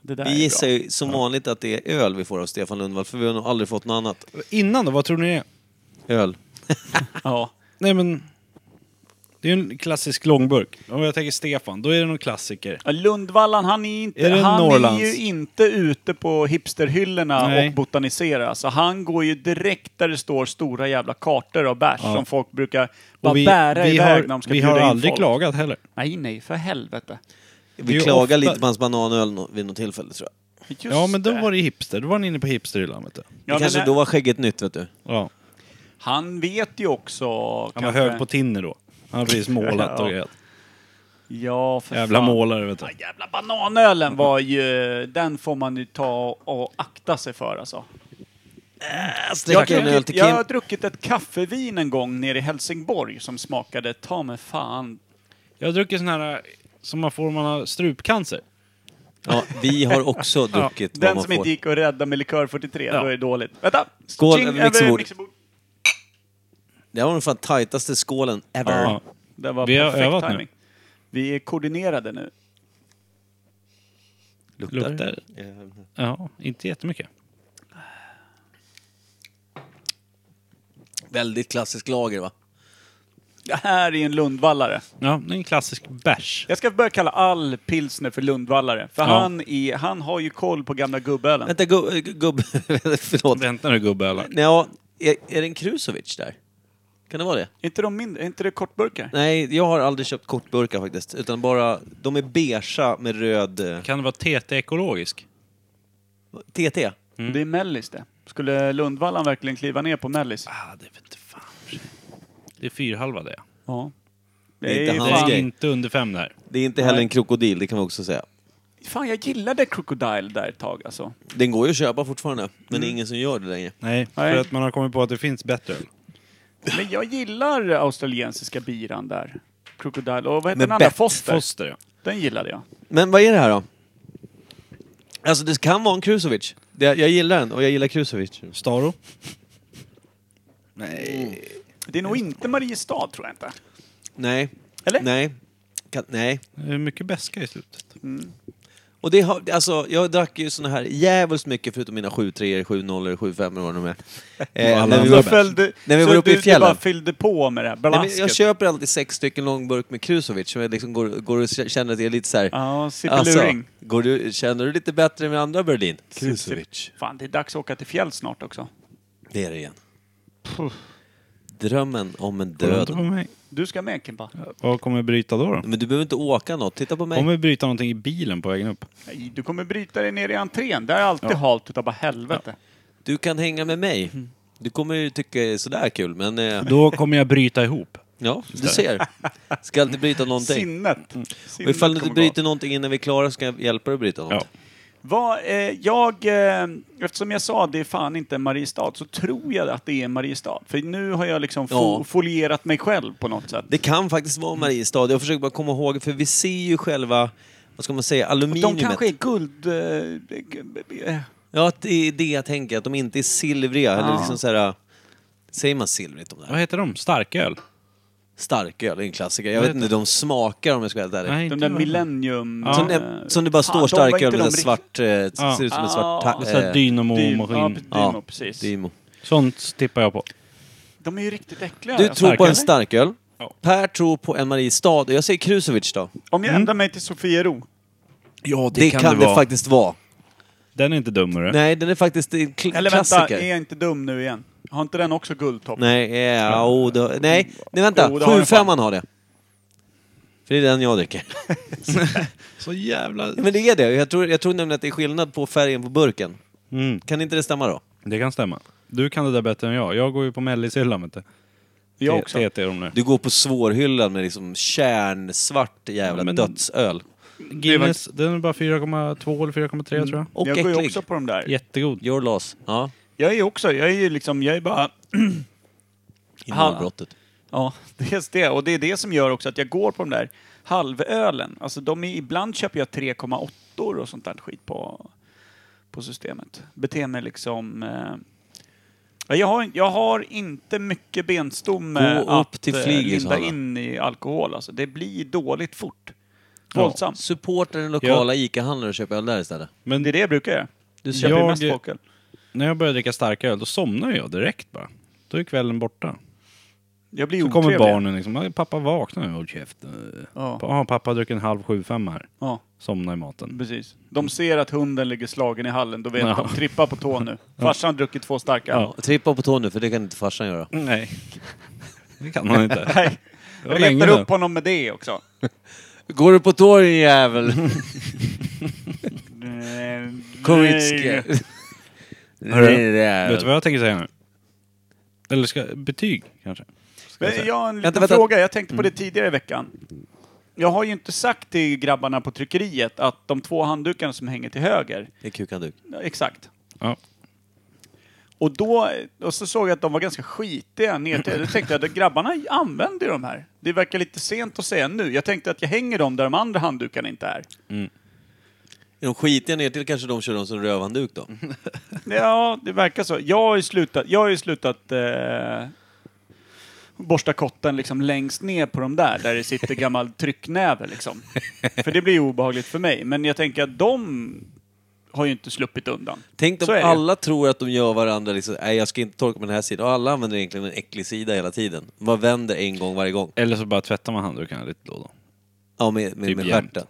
Speaker 1: Det där
Speaker 2: Vi
Speaker 1: är bra.
Speaker 2: gissar ju som vanligt att det är öl vi får av Stefan Lundvall, för vi har nog aldrig fått något annat.
Speaker 3: Innan då, vad tror ni det är?
Speaker 2: Öl.
Speaker 1: Ja.
Speaker 3: Nej men... Det är ju en klassisk långburk. Om jag tänker Stefan, då är det någon klassiker.
Speaker 1: Ja, Lundvallan, han är, inte,
Speaker 3: Är det
Speaker 1: han
Speaker 3: Norrlands?
Speaker 1: är ju inte ute på hipsterhyllorna
Speaker 3: Nej.
Speaker 1: och botaniserar. Alltså, han går ju direkt där det står stora jävla kartor av bärs som folk brukar bara
Speaker 3: Och vi,
Speaker 1: bära
Speaker 3: vi
Speaker 1: iväg
Speaker 3: har,
Speaker 1: när de ska
Speaker 3: vi
Speaker 1: bjuda
Speaker 3: har
Speaker 1: in
Speaker 3: aldrig
Speaker 1: folk.
Speaker 3: klagat heller.
Speaker 1: Nej, nej, för helvete.
Speaker 2: Vi
Speaker 3: Det är ju
Speaker 2: klagar
Speaker 3: ofta-
Speaker 2: lite på hans bananöl nå- vid något tillfälle, tror jag.
Speaker 1: Just
Speaker 3: ja men då var det hipster. Då var ni inne på hipsterhyllan vet du.
Speaker 2: Det
Speaker 1: Ja, men
Speaker 2: kanske
Speaker 1: det-
Speaker 2: då var skägget nytt, vet du.
Speaker 3: Ja.
Speaker 1: Han vet ju också...
Speaker 3: Han var hög på tinner då. Han har precis målat och
Speaker 1: Ja.
Speaker 3: grejat.
Speaker 1: Ja, för
Speaker 3: Jävla
Speaker 1: fan.
Speaker 3: målare vet du.
Speaker 1: Jävla bananölen var ju... Den får man ju ta och akta sig för alltså. Jag har,
Speaker 2: Sträcker en öl
Speaker 1: druckit,
Speaker 2: till
Speaker 1: jag
Speaker 2: Kim.
Speaker 1: har druckit ett kaffevin en gång nere i Helsingborg som smakade ta mig fan
Speaker 3: Jag har druckit sån här som man får om man har strupcancer.
Speaker 2: Ja, vi har också druckit vad
Speaker 1: Den
Speaker 2: man
Speaker 1: som
Speaker 2: får.
Speaker 1: inte gick att rädda med likör 43,
Speaker 3: Ja.
Speaker 1: då är det dåligt. Vänta!
Speaker 2: Skål
Speaker 1: Ching
Speaker 2: över mixerbord.
Speaker 1: mixerbord.
Speaker 2: Det här var den fan tajtaste skålen ever.
Speaker 3: Ja.
Speaker 1: Det var
Speaker 3: Vi har
Speaker 1: perfekt
Speaker 3: övat nu.
Speaker 1: timing. Vi är koordinerade nu.
Speaker 2: Luktar.
Speaker 3: Luktar.
Speaker 2: Eh,
Speaker 3: Ja, inte jättemycket.
Speaker 2: Väldigt klassisk lager, va?
Speaker 1: Det här är en Lundvallare.
Speaker 3: Ja, det är en klassisk bärs.
Speaker 1: Jag ska börja kalla all pilsner för Lundvallare. För han, är, han har ju koll på gamla gubbölen.
Speaker 2: Vänta, gu- eh, gu- gubbe... Förlåt.
Speaker 3: Vänta nu gubbe
Speaker 2: Nej, Ja, är, är det en Krusovic där? Kan det vara det?
Speaker 1: Är inte, de mindre, är inte det kortburkar?
Speaker 2: Nej, jag har aldrig köpt kortburkar faktiskt. Utan bara... De är beigea med röd... eh,
Speaker 3: Kan det vara TT ekologisk?
Speaker 2: TT.
Speaker 3: Mm.
Speaker 1: Det är Mellis det. Skulle Lundvallan verkligen kliva ner på Mellis?
Speaker 3: Ah, det vet fan. Det är fyrhalva det.
Speaker 1: Ja.
Speaker 2: är inte
Speaker 1: Nej,
Speaker 2: hans
Speaker 1: fan.
Speaker 2: grej.
Speaker 3: Inte under fem där.
Speaker 2: Det är inte heller
Speaker 1: Nej.
Speaker 2: en krokodil, det kan vi också säga.
Speaker 1: Fan, jag gillade Crocodile där ett tag alltså.
Speaker 2: Den går ju att köpa fortfarande, men
Speaker 1: Mm.
Speaker 2: det är ingen som gör det längre.
Speaker 3: Nej,
Speaker 1: Nej.
Speaker 3: för att man har kommit på att det finns bättre öl.
Speaker 1: Men jag gillar australiensiska biran där. Crocodile. Och vad heter
Speaker 2: Med
Speaker 1: den andra?
Speaker 2: bett.
Speaker 1: Foster.
Speaker 3: Foster ja.
Speaker 1: Den gillade jag.
Speaker 2: Men vad är det här då? Alltså det kan vara en Krusovic. Det, jag gillar den och jag gillar Krusovic.
Speaker 3: Staro.
Speaker 1: Mm. Det är nog inte Mariestad, tror jag inte.
Speaker 2: Nej.
Speaker 1: Eller?
Speaker 2: Nej. Kan, nej.
Speaker 3: Det är mycket beska i slutet.
Speaker 2: Och det har, alltså, jag drack ju såna här djävulskt mycket förutom mina 7 3 7 0 7 5 vad de är. Eh, när vi
Speaker 3: alla andra
Speaker 2: var,
Speaker 1: Så Alltså, följde,
Speaker 2: när vi var
Speaker 1: så
Speaker 2: uppe
Speaker 1: du,
Speaker 2: i fjällen.
Speaker 1: Du bara fyllde på med det här
Speaker 2: nej, men
Speaker 1: balasket.
Speaker 2: jag köper alltid sex stycken långburk med Krusovic som jag liksom går, går och känner att jag är lite så här. alltså,
Speaker 1: Ja, sippeluring.
Speaker 2: går du, känner du lite bättre med andra Berlin?
Speaker 1: Krusovic. Fan, det är dags att åka till fjäll snart också.
Speaker 2: Det är det igen. Drömmen om en död.
Speaker 3: på mig.
Speaker 1: Du ska med, Kimpa?
Speaker 3: Vad kommer jag bryta då? då?
Speaker 2: Men du behöver inte åka något, titta på mig.
Speaker 3: Kommer jag bryta någonting i bilen på vägen upp?
Speaker 1: Nej, du kommer bryta dig ner i entrén. Där är alltid halt utav bara helvete. Mm.
Speaker 2: Du kan hänga med mig. Du kommer ju tycka det är sådär kul, men... eh,
Speaker 3: Då kommer jag bryta ihop.
Speaker 2: Ja, du ser. Ska alltid bryta någonting.
Speaker 1: Sinnet.
Speaker 2: Mm. Och ifall du inte
Speaker 1: Sinnet kommer gå av.
Speaker 2: bryter någonting innan vi är klara ska jag hjälpa dig att bryta något.
Speaker 3: Ja.
Speaker 1: Vad, eh, jag, eh, eftersom jag sa det är fan inte Mariestad, så tror jag att det är Mariestad. För nu har jag liksom fo-
Speaker 2: Ja.
Speaker 1: folierat mig själv på något sätt.
Speaker 2: Det kan faktiskt vara Mariestad. Jag försöker bara komma ihåg, för vi ser ju själva, vad ska man säga,
Speaker 1: De
Speaker 2: aluminiumet.
Speaker 1: kanske är guld... Eh, g- b- eh,
Speaker 2: Ja, att det är det jag tänker, att de inte är silvriga.
Speaker 1: Ah.
Speaker 2: Eller liksom så här, säger man silvrigt om det här?
Speaker 3: Vad heter de? Starköl?
Speaker 2: Starköl är en klassiker. Jag
Speaker 3: Vad
Speaker 2: vet
Speaker 3: heter
Speaker 2: inte de smakar om jag ska vara helt ärlig.
Speaker 3: Nej,
Speaker 1: de
Speaker 3: inte
Speaker 1: där
Speaker 3: jag.
Speaker 1: millennium...
Speaker 3: Ja.
Speaker 2: Som,
Speaker 1: eh,
Speaker 2: det, som det bara
Speaker 1: fan,
Speaker 2: står
Speaker 1: de var inte
Speaker 2: starköl med
Speaker 1: de
Speaker 2: en
Speaker 1: rikt-
Speaker 2: svart... Eh,
Speaker 3: Ja.
Speaker 2: Ser ut som en
Speaker 1: Ah.
Speaker 2: svart... Ta,
Speaker 3: Så här Dynamo
Speaker 1: Dym- ja,
Speaker 3: maskin.
Speaker 1: Dymo,
Speaker 2: ja,
Speaker 1: precis.
Speaker 2: Dymo.
Speaker 3: Sånt tippar jag på.
Speaker 1: De är ju riktigt äckliga. alltså.
Speaker 2: Du
Speaker 1: jag
Speaker 2: tror på
Speaker 3: starköl.
Speaker 2: en starköl.
Speaker 3: Ja.
Speaker 2: Per tror på en Mariestad. Och Jag säger Krusovic då.
Speaker 1: Om
Speaker 3: Mm.
Speaker 1: jag ändrar mig till Sofiero.
Speaker 3: Ja,
Speaker 2: Det, kan, det, faktiskt vara.
Speaker 3: Den är inte dum, hörru.
Speaker 2: Nej, den är faktiskt en kl-
Speaker 1: Eller vänta,
Speaker 2: klassiker.
Speaker 1: är jag inte dum nu igen? Har inte den också guldtopp?
Speaker 2: Nej, ja, oh, det, nej, nej vänta.
Speaker 1: Jo, det Oh, har den
Speaker 2: 7-5 har det. För det är den jag dricker.
Speaker 3: Så jävla...
Speaker 2: Ja, Men det är det. Jag tror, jag tror nämligen att det är skillnad på färgen på burken.
Speaker 3: Mm,
Speaker 2: Kan inte det stämma då?
Speaker 3: det kan stämma. Du kan det där bättre än jag. Jag går ju på Mellisyllan, vet du.
Speaker 1: Jag
Speaker 3: T-
Speaker 1: också.
Speaker 3: TT är de nu.
Speaker 2: Du går på svårhyllan med liksom kärnsvart jävla
Speaker 3: Ja, men-
Speaker 2: dödsöl.
Speaker 3: Guinness, den är bara 4,2 eller 4,3
Speaker 1: Mm.
Speaker 3: tror jag.
Speaker 2: Och
Speaker 1: jag går ju
Speaker 2: äcklig.
Speaker 1: också på de där.
Speaker 3: Jättegod.
Speaker 2: Your loss. Ja,
Speaker 1: Jag är ju också, jag är ju liksom, jag är bara...
Speaker 2: i
Speaker 1: Ha.
Speaker 2: målbrottet.
Speaker 1: Ja, dels det. Och det är det som gör också att jag går på de där halvölen. Alltså de är, ibland köper jag 3,8 och sånt där skit på, på systemet. Beter mig liksom... Eh, ja, jag, har, jag har inte mycket benstomme
Speaker 2: Gå upp
Speaker 1: att
Speaker 2: till
Speaker 1: eh,
Speaker 2: flygis,
Speaker 1: linda
Speaker 2: Hanna.
Speaker 1: in i alkohol. Alltså, det blir dåligt fort.
Speaker 3: Ja.
Speaker 1: Våldsamt.
Speaker 2: Supporta den lokala ICA-handlaren och köp öl där istället.
Speaker 3: Men
Speaker 1: Det är det jag brukar göra.
Speaker 2: Du
Speaker 1: Jag köper
Speaker 3: Jag-
Speaker 1: mest folköl.
Speaker 3: när jag börjar dricka starköl, då somnar jag direkt bara. Då är kvällen borta.
Speaker 1: Jag blir
Speaker 3: Så kommer
Speaker 1: otrevlig.
Speaker 3: barnen liksom. "Ah, Pappa vaknar nu. Håll käften.
Speaker 1: Ja.
Speaker 3: Ja, pappa har druckit en halv sju femma här.
Speaker 1: Ja,
Speaker 3: Somnar i maten.
Speaker 1: precis. De ser att hunden ligger slagen i hallen. Då vet
Speaker 3: Mm. Ja.
Speaker 1: de. Trippa på tå nu. Farsan har druckit två starka.
Speaker 3: Ja.
Speaker 2: Trippa på tå nu, för det kan inte farsan göra.
Speaker 3: Nej. Det kan man inte.
Speaker 1: Mm. Nej.
Speaker 3: Det var
Speaker 1: Jag
Speaker 3: länge
Speaker 1: letar
Speaker 3: nu.
Speaker 1: upp honom med det också.
Speaker 2: Går du på tå din jävel?
Speaker 3: Eh,
Speaker 2: Koritske.
Speaker 3: Hörru,
Speaker 2: Nej, det är-
Speaker 3: Vet du vad jag tänker säga nu? Eller ska, betyg kanske? Ska jag
Speaker 1: Men
Speaker 3: säga.
Speaker 1: Jag har en liten
Speaker 2: Vänta, vänta.
Speaker 1: fråga. Jag tänkte på
Speaker 3: Mm.
Speaker 1: det tidigare i veckan. Jag har ju inte sagt till grabbarna på tryckeriet att de två handdukarna som hänger till höger,
Speaker 2: Det är kukanduk.
Speaker 1: exakt.
Speaker 3: Ja.
Speaker 1: Och då och så såg jag att de var ganska skitiga ner till. Då tänkte jag att grabbarna använder ju de här. Det verkar lite sent att säga nu. Jag tänkte att jag hänger dem där de andra handdukarna inte är.
Speaker 2: Är de skitiga ner till kanske de kör dem som rövhandduk då?
Speaker 3: Mm.
Speaker 1: Ja, det verkar så. Jag har ju slutat, jag har ju slutat eh, borsta kotten liksom längst ner på de där, där det sitter gammal trycknäve liksom. För det blir ju obehagligt för mig. Men jag tänker att de har ju inte sluppit undan.
Speaker 2: Tänk
Speaker 1: Så
Speaker 2: om
Speaker 1: är det ju.
Speaker 2: alla tror att de gör varandra liksom, nej jag ska inte torka på den här sidan. Och alla använder egentligen en äcklig sida hela tiden. Man vänder en gång varje gång.
Speaker 3: Eller så bara tvättar man handdukarna lite då och då.
Speaker 2: Ja, med, med,
Speaker 3: Typ
Speaker 2: med
Speaker 3: jämt.
Speaker 2: stjärten.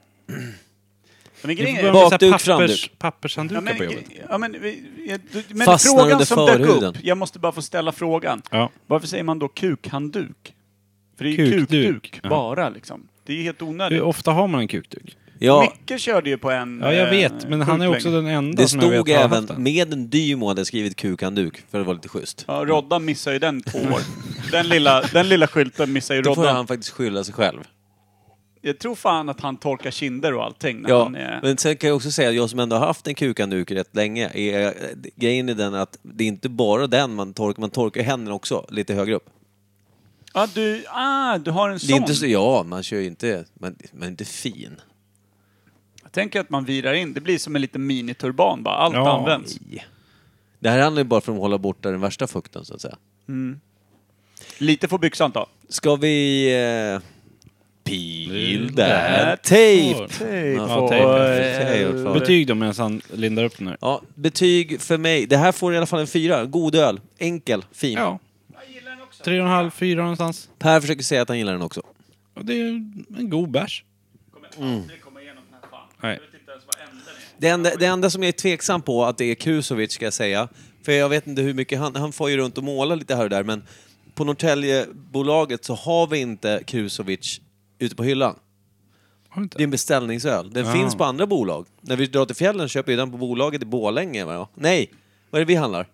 Speaker 1: Men
Speaker 3: Vi får
Speaker 1: grejen
Speaker 3: börja
Speaker 1: är...
Speaker 3: med så här
Speaker 2: Bakduk,
Speaker 3: pappers,
Speaker 2: framduk.
Speaker 1: Ja,
Speaker 3: pappershanddukar
Speaker 1: men,
Speaker 3: på jobbet.
Speaker 1: ja, men, vi- jag- du- men
Speaker 2: Fastnar
Speaker 1: frågan
Speaker 2: under
Speaker 1: som dök upp,
Speaker 2: förhuden.
Speaker 1: jag måste bara få ställa frågan.
Speaker 3: Ja.
Speaker 1: Varför säger man då kukhandduk? För det är ju
Speaker 3: Kukduk.
Speaker 1: kukduk,
Speaker 3: Ja.
Speaker 1: bara liksom. Det är ju helt
Speaker 3: Hur
Speaker 1: onödigt.
Speaker 3: ofta har man en kukduk?
Speaker 2: Ja,
Speaker 1: Micke körde ju på en...
Speaker 3: Ja, jag
Speaker 1: eh,
Speaker 3: vet. Men han är
Speaker 1: sjukt
Speaker 3: också
Speaker 1: länge.
Speaker 3: den enda
Speaker 2: det
Speaker 3: som jag
Speaker 2: stod
Speaker 3: vet har haft
Speaker 2: även
Speaker 3: den.
Speaker 2: med en Dymo hade jag skrivit kukanduk, för det var lite schysst.
Speaker 1: Ja, Roddan missar ju den två år. Den lilla, den lilla skylten missar ju
Speaker 2: Då får
Speaker 1: Roddan.
Speaker 2: han faktiskt skylla sig själv.
Speaker 1: Jag tror fan att han torkar kinder och allting när
Speaker 2: Ja,
Speaker 1: han
Speaker 3: eh,
Speaker 1: är...
Speaker 2: men sen kan jag också säga att jag som ändå har haft en kukanduk rätt länge, är, eh, grejen är den att det är inte bara den man torkar, man torkar händerna också, lite högre upp.
Speaker 1: Ja, du, ah, du har en sån.
Speaker 2: Det är inte så, ja, man kör ju inte, man, man är inte fin.
Speaker 1: Jag tänker att man virar in. Det blir som en liten miniturban bara. Allt
Speaker 3: Ja.
Speaker 1: används.
Speaker 2: Det här handlar ju bara om att hålla borta den värsta fukten, så att säga.
Speaker 1: Lite får byxan ta.
Speaker 2: Ska vi... Eh, peel
Speaker 3: that
Speaker 2: that tape!
Speaker 3: Ja,
Speaker 1: Och, eh,
Speaker 2: Tape.
Speaker 3: Betyg då medan han lindar upp den här.
Speaker 2: Ja, betyg för mig. Det här får i alla fall en fyra. God öl. Enkel. Fin.
Speaker 3: Ja. Tre och en halv, fyra någonstans.
Speaker 2: Per försöker säga att han gillar den också.
Speaker 3: Och det är en god bärs. Mm. Nej.
Speaker 2: Det enda, det enda som jag är tveksam på att det är Krusovic ska jag säga, för jag vet inte hur mycket han... Han får ju runt och måla lite här och där, men på Norrtäljebolaget så har vi inte Krusovic ute på hyllan.
Speaker 3: Har du inte?
Speaker 2: Det är en beställningsöl. Den
Speaker 3: Ah.
Speaker 2: finns på andra bolag. När vi drar till fjällen köper vi den på bolaget i Borlänge. va? Nej, vad är det vi handlar?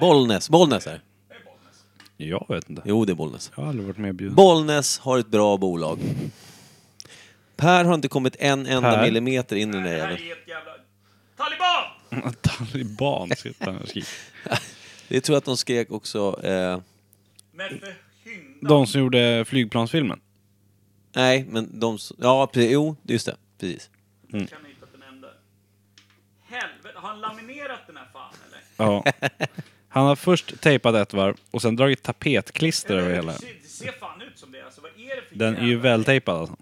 Speaker 2: Bollnäs. Bollnäs är det.
Speaker 3: Jag vet inte.
Speaker 2: Jo, det är Bollnäs.
Speaker 3: Jag har aldrig varit medbjuden.
Speaker 2: Bollnäs har ett bra bolag. Per har inte kommit en enda
Speaker 3: Per?
Speaker 2: millimeter in i den där jäveln.
Speaker 3: Taliban sitter han och skriker.
Speaker 2: Det tror jag att de skrek också... Eh,
Speaker 3: De som gjorde flygplansfilmen.
Speaker 2: nej, men de... s- Ja, precis. Jo, just det. Precis.
Speaker 1: Kan ni hitta den enda? Helvete, har han laminerat den här fan eller?
Speaker 3: Ja. Han har först tejpat ett varv och sen dragit tapetklister över hela.
Speaker 1: Det ser- Det ser fan ut som det alltså, vad är det för
Speaker 3: Den är ju
Speaker 1: jävla-
Speaker 3: vältejpad alltså.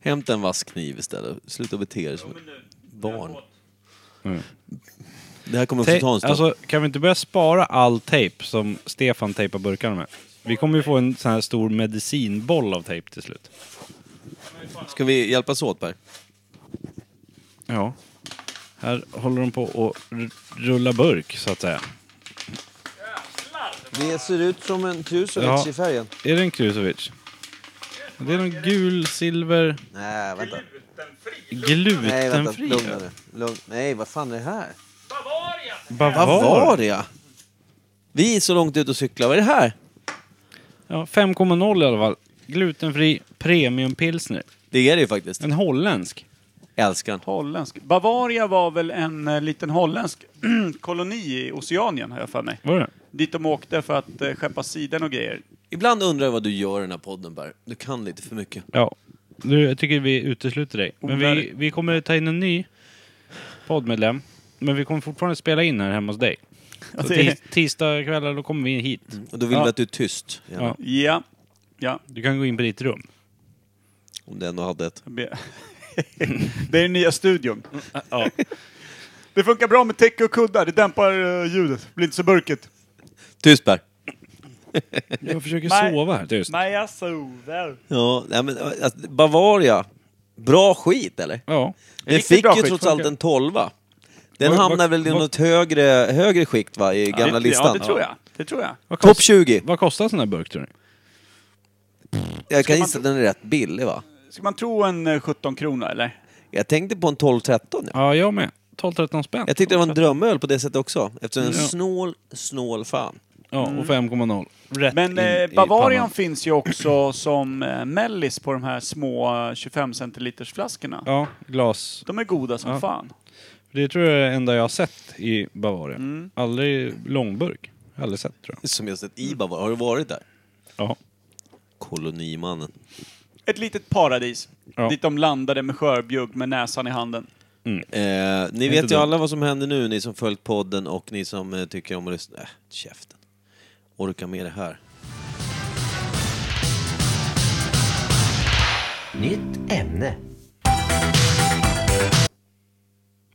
Speaker 2: Hämta en vass kniv istället. Sluta bete er
Speaker 1: Jo,
Speaker 2: som...
Speaker 1: men nu,
Speaker 2: barn.
Speaker 1: förlåt.
Speaker 2: Det här kommer också ta en
Speaker 3: Te-
Speaker 2: stund.
Speaker 3: Mm. alltså, kan vi inte börja spara all tejp som Stefan tejpar burkarna med? Vi kommer ju få en sån här stor medicinboll av tejp till slut.
Speaker 2: Ska vi hjälpas åt, Per?
Speaker 3: Ja. Här håller de på att r- rulla burk, så att säga.
Speaker 2: Det ser ut som en Krusovic
Speaker 3: Ja.
Speaker 2: i färgen.
Speaker 3: Är det en Krusovic? Det är någon gul, silver,
Speaker 2: Nej, vänta. Nej, vänta.
Speaker 3: glutenfri.
Speaker 2: Lugna dig. Lugn. Nej, vad fan är det här?
Speaker 3: Bavar.
Speaker 2: Bavaria! Vi är så långt ut och cyklar. Vad är det här?
Speaker 3: Ja, 5,0 i alla fall. Glutenfri premiumpilsner.
Speaker 2: Det är det ju faktiskt.
Speaker 3: En holländsk.
Speaker 2: Älskar den.
Speaker 1: Holländsk. Bavaria var väl en eh, liten holländsk koloni i Oceanien har jag för mig.
Speaker 3: Var det
Speaker 1: Dit de åkte för att eh, skeppa siden och grejer.
Speaker 2: Ibland undrar jag vad du gör i den här podden, Per. Du kan lite för mycket.
Speaker 3: Ja. Nu, jag tycker vi utesluter dig. Men vi, vi kommer ta in en ny poddmedlem. Men vi kommer fortfarande spela in här hemma hos dig. Så
Speaker 1: det är-
Speaker 3: tis, tisdag kvällar då kommer vi in hit.
Speaker 2: Och då vill
Speaker 1: Ja.
Speaker 2: vi att du är tyst. gärna.
Speaker 3: Mm. Ja.
Speaker 1: Ja. Ja.
Speaker 3: Du kan gå in på ditt rum.
Speaker 2: Om du ändå hade ett.
Speaker 1: jag ber. Det är den nya studion.
Speaker 3: Mm, eh,
Speaker 1: Det funkar bra med täcke och kuddar. Det dämpar eh, ljudet. Det blir inte så burkigt.
Speaker 2: Tyst Per!
Speaker 3: Jag försöker
Speaker 1: Nej.
Speaker 3: sova här. Tyst.
Speaker 1: Nej, jag sover.
Speaker 2: Ja, nej, men, alltså, Bavaria. Bra skit eller?
Speaker 3: Ja.
Speaker 2: Den
Speaker 1: Riktigt
Speaker 2: fick
Speaker 1: bra
Speaker 2: ju
Speaker 1: skit,
Speaker 2: trots allt
Speaker 1: funkar.
Speaker 2: en tolva. Den
Speaker 3: Vad-
Speaker 2: hamnar
Speaker 3: vad-
Speaker 2: väl i
Speaker 3: vad-
Speaker 2: något högre, högre skikt va, i gamla listan?
Speaker 1: Ja, det tror jag. Det tror jag.
Speaker 3: Vad
Speaker 2: Topp
Speaker 3: kost-
Speaker 2: 20.
Speaker 3: Vad kostar en sån här burk tror ni?
Speaker 2: Jag kan
Speaker 1: man
Speaker 2: gissa att den är rätt billig va?
Speaker 1: Ska man tro en eh, 17 krona eller?
Speaker 2: Jag tänkte på en 12-13. Ja.
Speaker 3: Ja, jag med. 12-13 spänn.
Speaker 2: Jag tyckte det var en drömöl på det sättet också. Eftersom en
Speaker 3: Ja.
Speaker 2: snål, snål fan.
Speaker 3: Ja, och 5,0.
Speaker 2: Mm.
Speaker 3: Rätt
Speaker 1: Men
Speaker 3: in
Speaker 1: eh,
Speaker 3: i
Speaker 1: Bavarian
Speaker 3: pannan.
Speaker 1: finns ju också som eh, mellis på de här små eh, 25 centiliters flaskorna.
Speaker 3: Ja, glas.
Speaker 1: De är goda som
Speaker 3: Ja.
Speaker 1: fan.
Speaker 3: Det tror jag är det enda jag har sett i Bavaria.
Speaker 2: Mm.
Speaker 3: Aldrig långburk. Aldrig sett tror jag.
Speaker 2: Som jag sett i Bavaria. Har du varit där?
Speaker 3: Ja.
Speaker 2: Kolonimannen.
Speaker 1: Ett litet paradis.
Speaker 3: Ja.
Speaker 1: Dit de landade med skörbjugg med näsan i handen.
Speaker 2: Eh, ni
Speaker 3: inte
Speaker 2: vet ju
Speaker 3: dumt.
Speaker 2: alla vad som händer nu, ni som följt podden och ni som eh, tycker om att lyssna. Äh, käften. Orka med det här.
Speaker 6: Nytt ämne.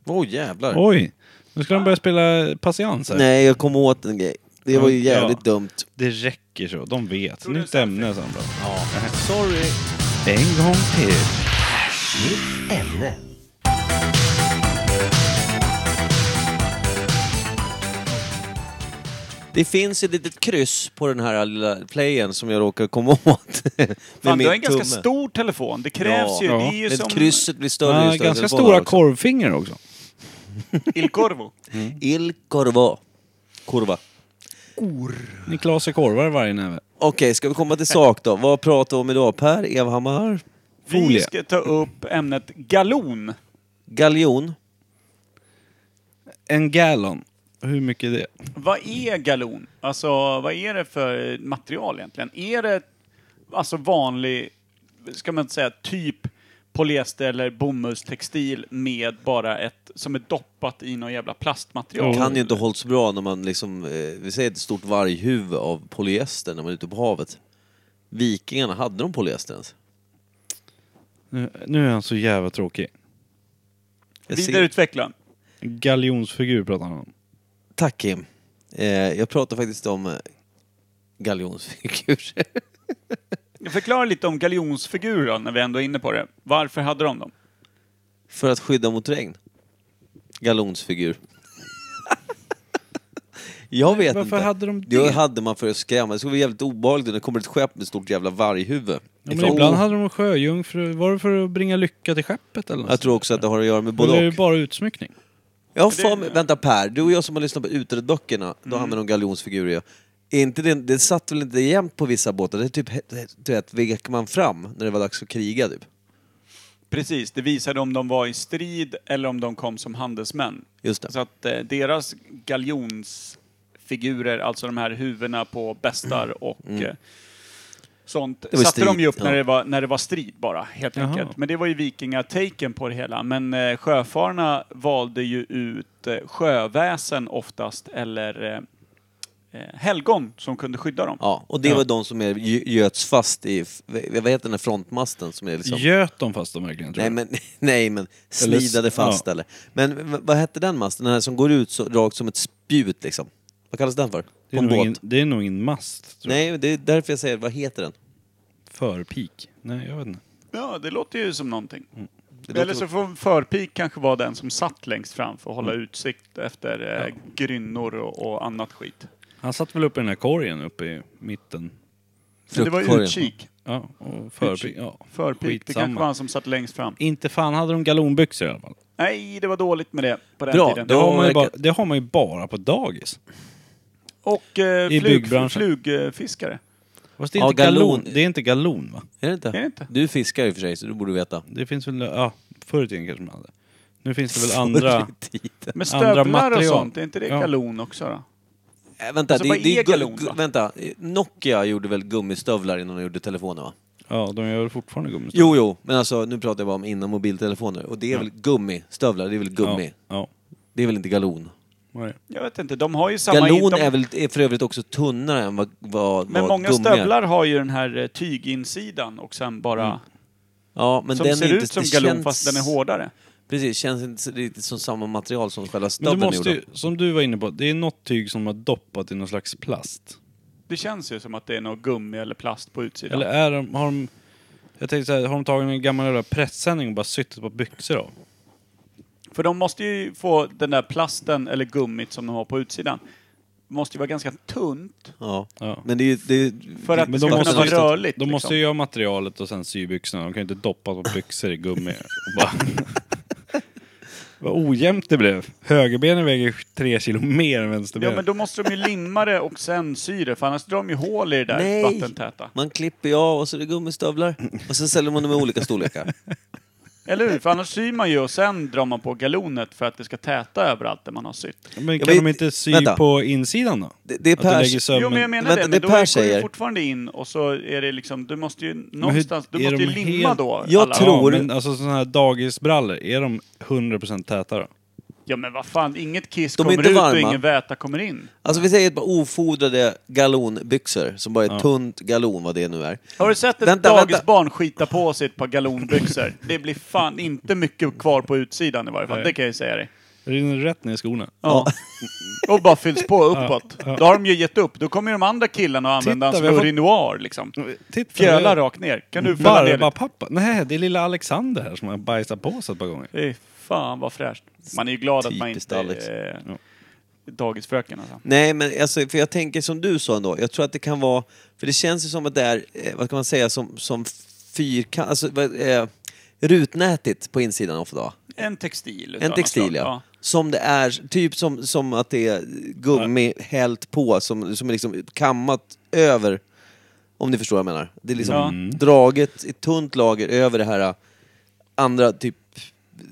Speaker 2: Åh oh, jävlar.
Speaker 3: Oj! Nu ska de börja spela patiens här.
Speaker 2: Nej, jag kom åt en grej. Det var ju
Speaker 3: Ja.
Speaker 2: jävligt dumt.
Speaker 3: Det räcker så. De vet. Nytt ämne Sandra.
Speaker 2: Sorry.
Speaker 3: En gång till.
Speaker 6: Nytt ämne.
Speaker 2: Det finns ett litet kryss på den här lilla playen som jag råkar komma åt. Med
Speaker 1: Fan, du
Speaker 2: min
Speaker 1: har en ganska
Speaker 2: tumme.
Speaker 1: stor telefon. Det krävs
Speaker 2: Ja.
Speaker 1: ju. Det
Speaker 3: Ja.
Speaker 1: är ju
Speaker 2: Men
Speaker 1: som
Speaker 2: krysset blir större ju
Speaker 3: Ja,
Speaker 2: större
Speaker 3: ganska
Speaker 2: telefoner
Speaker 3: stora
Speaker 2: också.
Speaker 3: korvfingrar också.
Speaker 1: Il Corvo.
Speaker 2: Il corvo. Kurva.
Speaker 3: Niklas är korvar i varje näve.
Speaker 2: Okej, ska vi komma till sak då? Vad pratar vi om idag? Per Evhammar?
Speaker 1: Vi
Speaker 3: Folie.
Speaker 1: ska ta upp ämnet galon.
Speaker 2: Galjon?
Speaker 3: En gallon. Hur mycket är det?
Speaker 1: Vad är galon? Alltså, vad är det för material egentligen? Är det alltså vanlig, ska man säga, typ polyester eller bomullstextil med bara ett, som är doppat i någon jävla plastmaterial?
Speaker 2: kan ju inte ha hållit så bra när man liksom, eh, vi säger ett stort varghuvud av polyester när man är ute på havet. Vikingarna, hade de polyester ens?
Speaker 3: Nu, nu är han så jävla tråkig.
Speaker 2: Jag ser...
Speaker 1: Vidareutveckla.
Speaker 3: En Galjonsfigur pratar han om.
Speaker 2: Tack Kim. Eh, jag pratar faktiskt om eh, galjonsfigurer.
Speaker 1: Förklara lite om galjonsfigurer då, när vi ändå är inne på det. Varför hade de dem?
Speaker 2: För att skydda mot regn. Galonsfigur. jag vet
Speaker 3: Varför
Speaker 2: inte.
Speaker 3: hade de det?
Speaker 2: Det hade man för att skrämma. Det skulle vara jävligt obehagligt när det kommer ett skepp med ett stort jävla varghuvud.
Speaker 3: Ja, men
Speaker 2: Ifrån-
Speaker 3: ibland hade de en sjöjungfru. Var det för att bringa lycka till skeppet eller något?
Speaker 2: Jag tror också att det har att göra med både
Speaker 3: Eller är
Speaker 2: och.
Speaker 3: det Mm. bara utsmyckning?
Speaker 2: Jag har
Speaker 1: det-
Speaker 2: för mig, vänta Per, du och jag som har lyssnat på Utred-böckerna, då använder de galjonsfigurer ju. Är inte det, det satt väl inte jämnt på vissa båtar? Det är typ, du vet, vek man fram när det var dags att kriga typ.
Speaker 1: Precis, det visade om de var i strid eller om de kom som handelsmän.
Speaker 2: Just det.
Speaker 1: Så att eh, deras galjonsfigurer, alltså de här huvudena på bästar och eh, sånt,
Speaker 2: var
Speaker 1: satte de
Speaker 2: strid,
Speaker 1: ju upp när,
Speaker 2: ja.
Speaker 1: det var, när det var strid bara, helt
Speaker 3: Jaha.
Speaker 1: enkelt. Men det var ju vikingataken på det hela. Men eh, sjöfararna valde ju ut eh, sjöväsen oftast, eller eh, eh, helgon som kunde skydda dem.
Speaker 2: Ja, och det
Speaker 3: Ja.
Speaker 2: var de som är, gö- göts fast i, f- vad heter den här frontmasten som är liksom...
Speaker 3: Göt de fast de verkligen tror
Speaker 2: Nej
Speaker 3: jag.
Speaker 2: men, nej men, snidade fast
Speaker 3: ja.
Speaker 2: eller. Men v- vad hette den masten? Den här som går ut så rakt som ett spjut liksom. Vad kallas den för? På
Speaker 3: det, är
Speaker 2: en
Speaker 3: nog
Speaker 2: båt?
Speaker 3: ingen, det är nog ingen mast. Tror jag.
Speaker 2: Nej, det är därför jag säger, vad heter den?
Speaker 3: Förpik. Nej, jag vet inte.
Speaker 1: Ja, det låter ju som någonting.
Speaker 2: Mm. låter-
Speaker 1: Eller så får förpik kanske vara den som satt längst fram för att
Speaker 2: Mm.
Speaker 1: hålla utsikt efter eh, grynnor och, och annat skit.
Speaker 3: Han satt väl uppe i den här korgen uppe i mitten.
Speaker 1: Men det var
Speaker 2: Fruktkorgen.
Speaker 1: utkik.
Speaker 3: Ja, och förpik. Ja.
Speaker 1: Förpik, det kanske
Speaker 3: Skitsamma.
Speaker 1: var han som satt längst fram.
Speaker 3: Inte fan hade de galonbyxor i alla fall.
Speaker 1: Nej, det var dåligt med det på den
Speaker 2: Bra,
Speaker 1: tiden.
Speaker 3: Det
Speaker 2: Ja,
Speaker 3: har, man ju bara,
Speaker 2: verkar-
Speaker 3: det har man ju bara på dagis.
Speaker 1: Och eh,
Speaker 3: I
Speaker 1: flug,
Speaker 3: byggbranschen.
Speaker 1: flugfiskare.
Speaker 3: Fast det är,
Speaker 2: Ja,
Speaker 3: inte galon.
Speaker 2: galon.
Speaker 3: det är inte galon va?
Speaker 2: Är det inte?
Speaker 1: det inte?
Speaker 2: Du fiskar i och för sig, så du borde veta.
Speaker 3: Det finns väl, ja, förr i tiden kanske man hade. Nu finns det väl andra...
Speaker 2: Förr i tiden.
Speaker 1: Med
Speaker 3: Andra
Speaker 1: stövlar och
Speaker 3: material.
Speaker 1: sånt, är inte det
Speaker 3: Ja.
Speaker 1: galon också då?
Speaker 2: Äh, vänta,
Speaker 1: Alltså,
Speaker 2: det,
Speaker 1: vad
Speaker 2: det,
Speaker 1: är
Speaker 2: gu-
Speaker 1: galon,
Speaker 2: gu-
Speaker 1: va?
Speaker 2: vänta, Nokia gjorde väl gummistövlar innan de gjorde telefoner va?
Speaker 3: Ja, de gör väl fortfarande gummistövlar?
Speaker 2: Jo, jo, men alltså nu pratar jag bara om innan mobiltelefoner. Och det är väl gummistövlar, det är väl gummi.
Speaker 3: Ja.
Speaker 2: Det är väl inte galon?
Speaker 3: ja.
Speaker 1: Jag vet inte, de har ju samma...
Speaker 2: Galon
Speaker 1: de,
Speaker 2: är väl är för övrigt också tunnare än vad, vad,
Speaker 1: men
Speaker 2: vad
Speaker 1: många
Speaker 2: gummi är.
Speaker 1: stövlar har ju den här eh, tyginsidan och sen bara...
Speaker 2: Ja, Mm. men
Speaker 1: Som
Speaker 2: den
Speaker 1: ser
Speaker 2: är inte,
Speaker 1: ut som
Speaker 2: det
Speaker 1: galon
Speaker 2: känns-
Speaker 1: fast den är hårdare.
Speaker 2: Precis, känns inte riktigt som samma material som själva
Speaker 3: Men du
Speaker 2: stövlen
Speaker 3: måste
Speaker 2: gjorde.
Speaker 3: ju, som du var inne på, det är något tyg som har doppat i någon slags plast.
Speaker 1: Det känns ju som att det är något gummi eller plast på utsidan.
Speaker 3: Eller är de, har de... Jag tänkte såhär, har de tagit en gammal jävla pressändning och bara sytt på byxor av?
Speaker 1: För de måste ju få den där plasten eller gummit som de har på utsidan. måste ju vara ganska tunt.
Speaker 2: Ja.
Speaker 3: Ja.
Speaker 2: Men det är ju... Det är,
Speaker 1: För att
Speaker 3: Men
Speaker 1: det ska
Speaker 3: de
Speaker 1: kunna
Speaker 3: måste
Speaker 1: vara
Speaker 3: ju-
Speaker 1: rörligt.
Speaker 3: De måste
Speaker 1: liksom.
Speaker 3: ju göra materialet och sen sy byxorna. De kan ju inte doppa på byxor i gummi. Och bara- Vad ojämnt det blev. Högerbenen väger tre kilo mer än
Speaker 1: Ja
Speaker 3: vänsterbenen.
Speaker 1: men då måste de ju limma det och sen sy det, för annars drar de ju hål i det där
Speaker 2: Nej.
Speaker 1: vattentäta.
Speaker 2: Man klipper ju av och så är det gummistövlar. Och sen säljer man dem i olika storlekar.
Speaker 1: Eller hur? För annars syr man ju och sen drar man på galonet för att det ska täta överallt där man har sytt.
Speaker 3: men
Speaker 2: Ja,
Speaker 3: kan
Speaker 2: men-
Speaker 3: de inte sy
Speaker 2: vänta.
Speaker 3: på insidan då?
Speaker 2: Det, det är
Speaker 3: Att du lägger
Speaker 2: Pers...
Speaker 1: Jo men jag
Speaker 3: sömmen...
Speaker 1: menar
Speaker 2: vänta,
Speaker 1: det,
Speaker 2: det
Speaker 1: men då
Speaker 2: Per
Speaker 1: går
Speaker 2: säger-
Speaker 1: ju fortfarande in och så är det liksom, du måste ju någonstans, du
Speaker 3: är
Speaker 1: måste ju
Speaker 3: de
Speaker 1: limma
Speaker 3: helt-
Speaker 1: då.
Speaker 2: Jag
Speaker 1: alla-
Speaker 2: tror-
Speaker 3: Ja, men alltså sådana här dagisbrallor, är de 100% täta då?
Speaker 1: Ja men vad fan, inget kiss
Speaker 2: De är
Speaker 1: kommer
Speaker 2: inte
Speaker 1: ut och
Speaker 2: varma.
Speaker 1: ingen väta kommer in.
Speaker 2: Alltså vi säger ett par ofodrade galonbyxor som bara är tunt galon, vad det nu är.
Speaker 1: Har du sett ett
Speaker 2: Vänta,
Speaker 1: dagisbarn skita på sig ett par galonbyxor? Det blir fan inte mycket kvar på utsidan i varje fall,
Speaker 3: Nej.
Speaker 1: det kan jag ju säga dig.
Speaker 3: Rinner rätt ner i skorna.
Speaker 1: Ja. Och bara fylls på uppåt. Då har de ju gett upp. Då kommer ju de andra killarna att använda
Speaker 3: Titta,
Speaker 1: en
Speaker 3: vi har
Speaker 1: smörj noir liksom.
Speaker 3: Titta,
Speaker 1: Fjöla rakt ner. Kan du fälla ner
Speaker 3: Barba
Speaker 1: det?
Speaker 3: pappa. Nej, det är lilla Alexander här som har bajsat på sig ett par gånger.
Speaker 1: Fy fan vad fräscht. Man är ju glad att man
Speaker 2: Typiskt
Speaker 1: inte
Speaker 2: Alex.
Speaker 1: är eh, dagisfröken alltså.
Speaker 2: Nej, men alltså, för jag tänker som du sa ändå. Jag tror att det kan vara... För det känns ju som att det är, eh, vad kan man säga, som, som fyrkant... Alltså, vad, eh, rutnätigt på insidan ofta. då.
Speaker 1: En textil. utav
Speaker 2: En
Speaker 1: typ något
Speaker 2: textil,
Speaker 1: slag.
Speaker 2: ja. Som det är, typ som, som att det är gummi hällt på, som, som är liksom kammat över. Om ni förstår vad jag menar. Det är liksom
Speaker 1: Ja.
Speaker 2: draget i tunt lager över det här eh, andra, typ,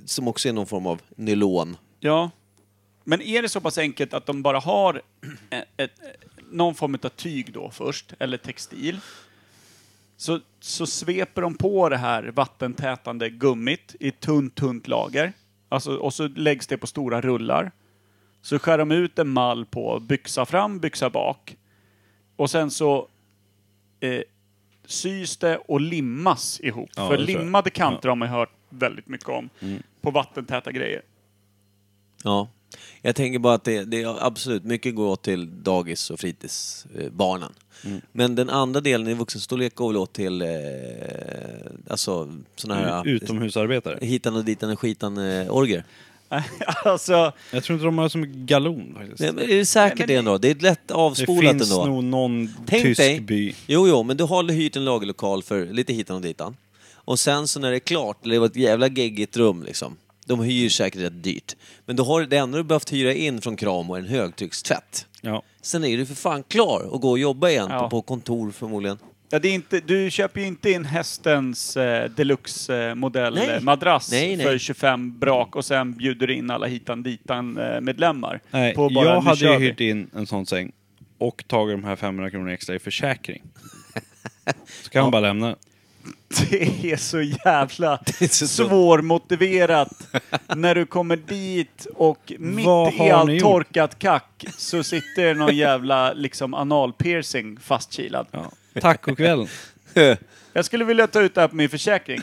Speaker 2: som också är någon form av nylon.
Speaker 1: Ja. Men är det så pass enkelt att de bara har ett, ett, någon form av tyg då först, eller textil, så, så sveper de på det här vattentätande gummit i ett tunt, tunt lager. Alltså, och så läggs det på stora rullar. Så skär de ut en mall på byxa fram, byxa bak. Och sen så eh, sys det och limmas ihop.
Speaker 3: Ja, Mm.
Speaker 1: För
Speaker 3: det tror jag.
Speaker 1: limmade kanter har man ju hört väldigt mycket om. På vattentäta grejer.
Speaker 2: Ja. Jag tänker bara att det, det är absolut, mycket går åt till dagis och fritids, eh, barnen.
Speaker 1: Mm.
Speaker 2: Men den andra delen i vuxenstorlek går väl åt till, eh, alltså såna
Speaker 1: Mm,
Speaker 2: här...
Speaker 3: Utomhusarbetare.
Speaker 2: Hitan och ditan och skitan eh, orger.
Speaker 1: alltså,
Speaker 3: Jag tror inte de har så mycket galon faktiskt.
Speaker 2: Nej, men är det säkert
Speaker 1: Nej, men-
Speaker 2: det ändå? Det är lätt
Speaker 3: det
Speaker 2: avspolat
Speaker 3: finns
Speaker 2: ändå.
Speaker 3: nog någon
Speaker 2: Tänk
Speaker 3: tysk
Speaker 2: dig,
Speaker 3: by.
Speaker 2: jo, jo, men du har hyrt en lagerlokal för lite hitan och ditan. Och sen så när det är klart, eller det var ett jävla geggigt rum liksom. De hyr säkert rätt dyrt. Men då har, det enda du behövt hyra in från Kramo är en högtryckstvätt.
Speaker 3: Ja.
Speaker 2: Sen är du för fan klar och gå och jobba igen
Speaker 1: Ja.
Speaker 2: på, på kontor förmodligen.
Speaker 1: Ja, det är inte, du köper ju inte in hästens eh, deluxe eh, modell
Speaker 2: Nej.
Speaker 1: eh, madrass
Speaker 2: Nej, nej.
Speaker 1: för 25 brak och sen bjuder du in alla hitan ditan eh, medlemmar.
Speaker 3: Nej,
Speaker 1: på bara,
Speaker 3: jag
Speaker 1: "Nu
Speaker 3: hade
Speaker 1: kör
Speaker 3: ju
Speaker 1: vi."
Speaker 3: hyrt in en sån säng och tagit de här 500 kronorna extra i försäkring. Så kan man bara lämna den.
Speaker 1: Det är så jävla
Speaker 2: är så dumt.
Speaker 1: svårmotiverat när du kommer dit och mitt
Speaker 3: Vad
Speaker 1: i
Speaker 3: har ni
Speaker 1: allt
Speaker 3: gjort?
Speaker 1: torkat kack så sitter det någon jävla liksom analpiercing fastkilad.
Speaker 3: ja. Tacokvällen.
Speaker 1: Jag skulle vilja ta ut det här på min försäkring.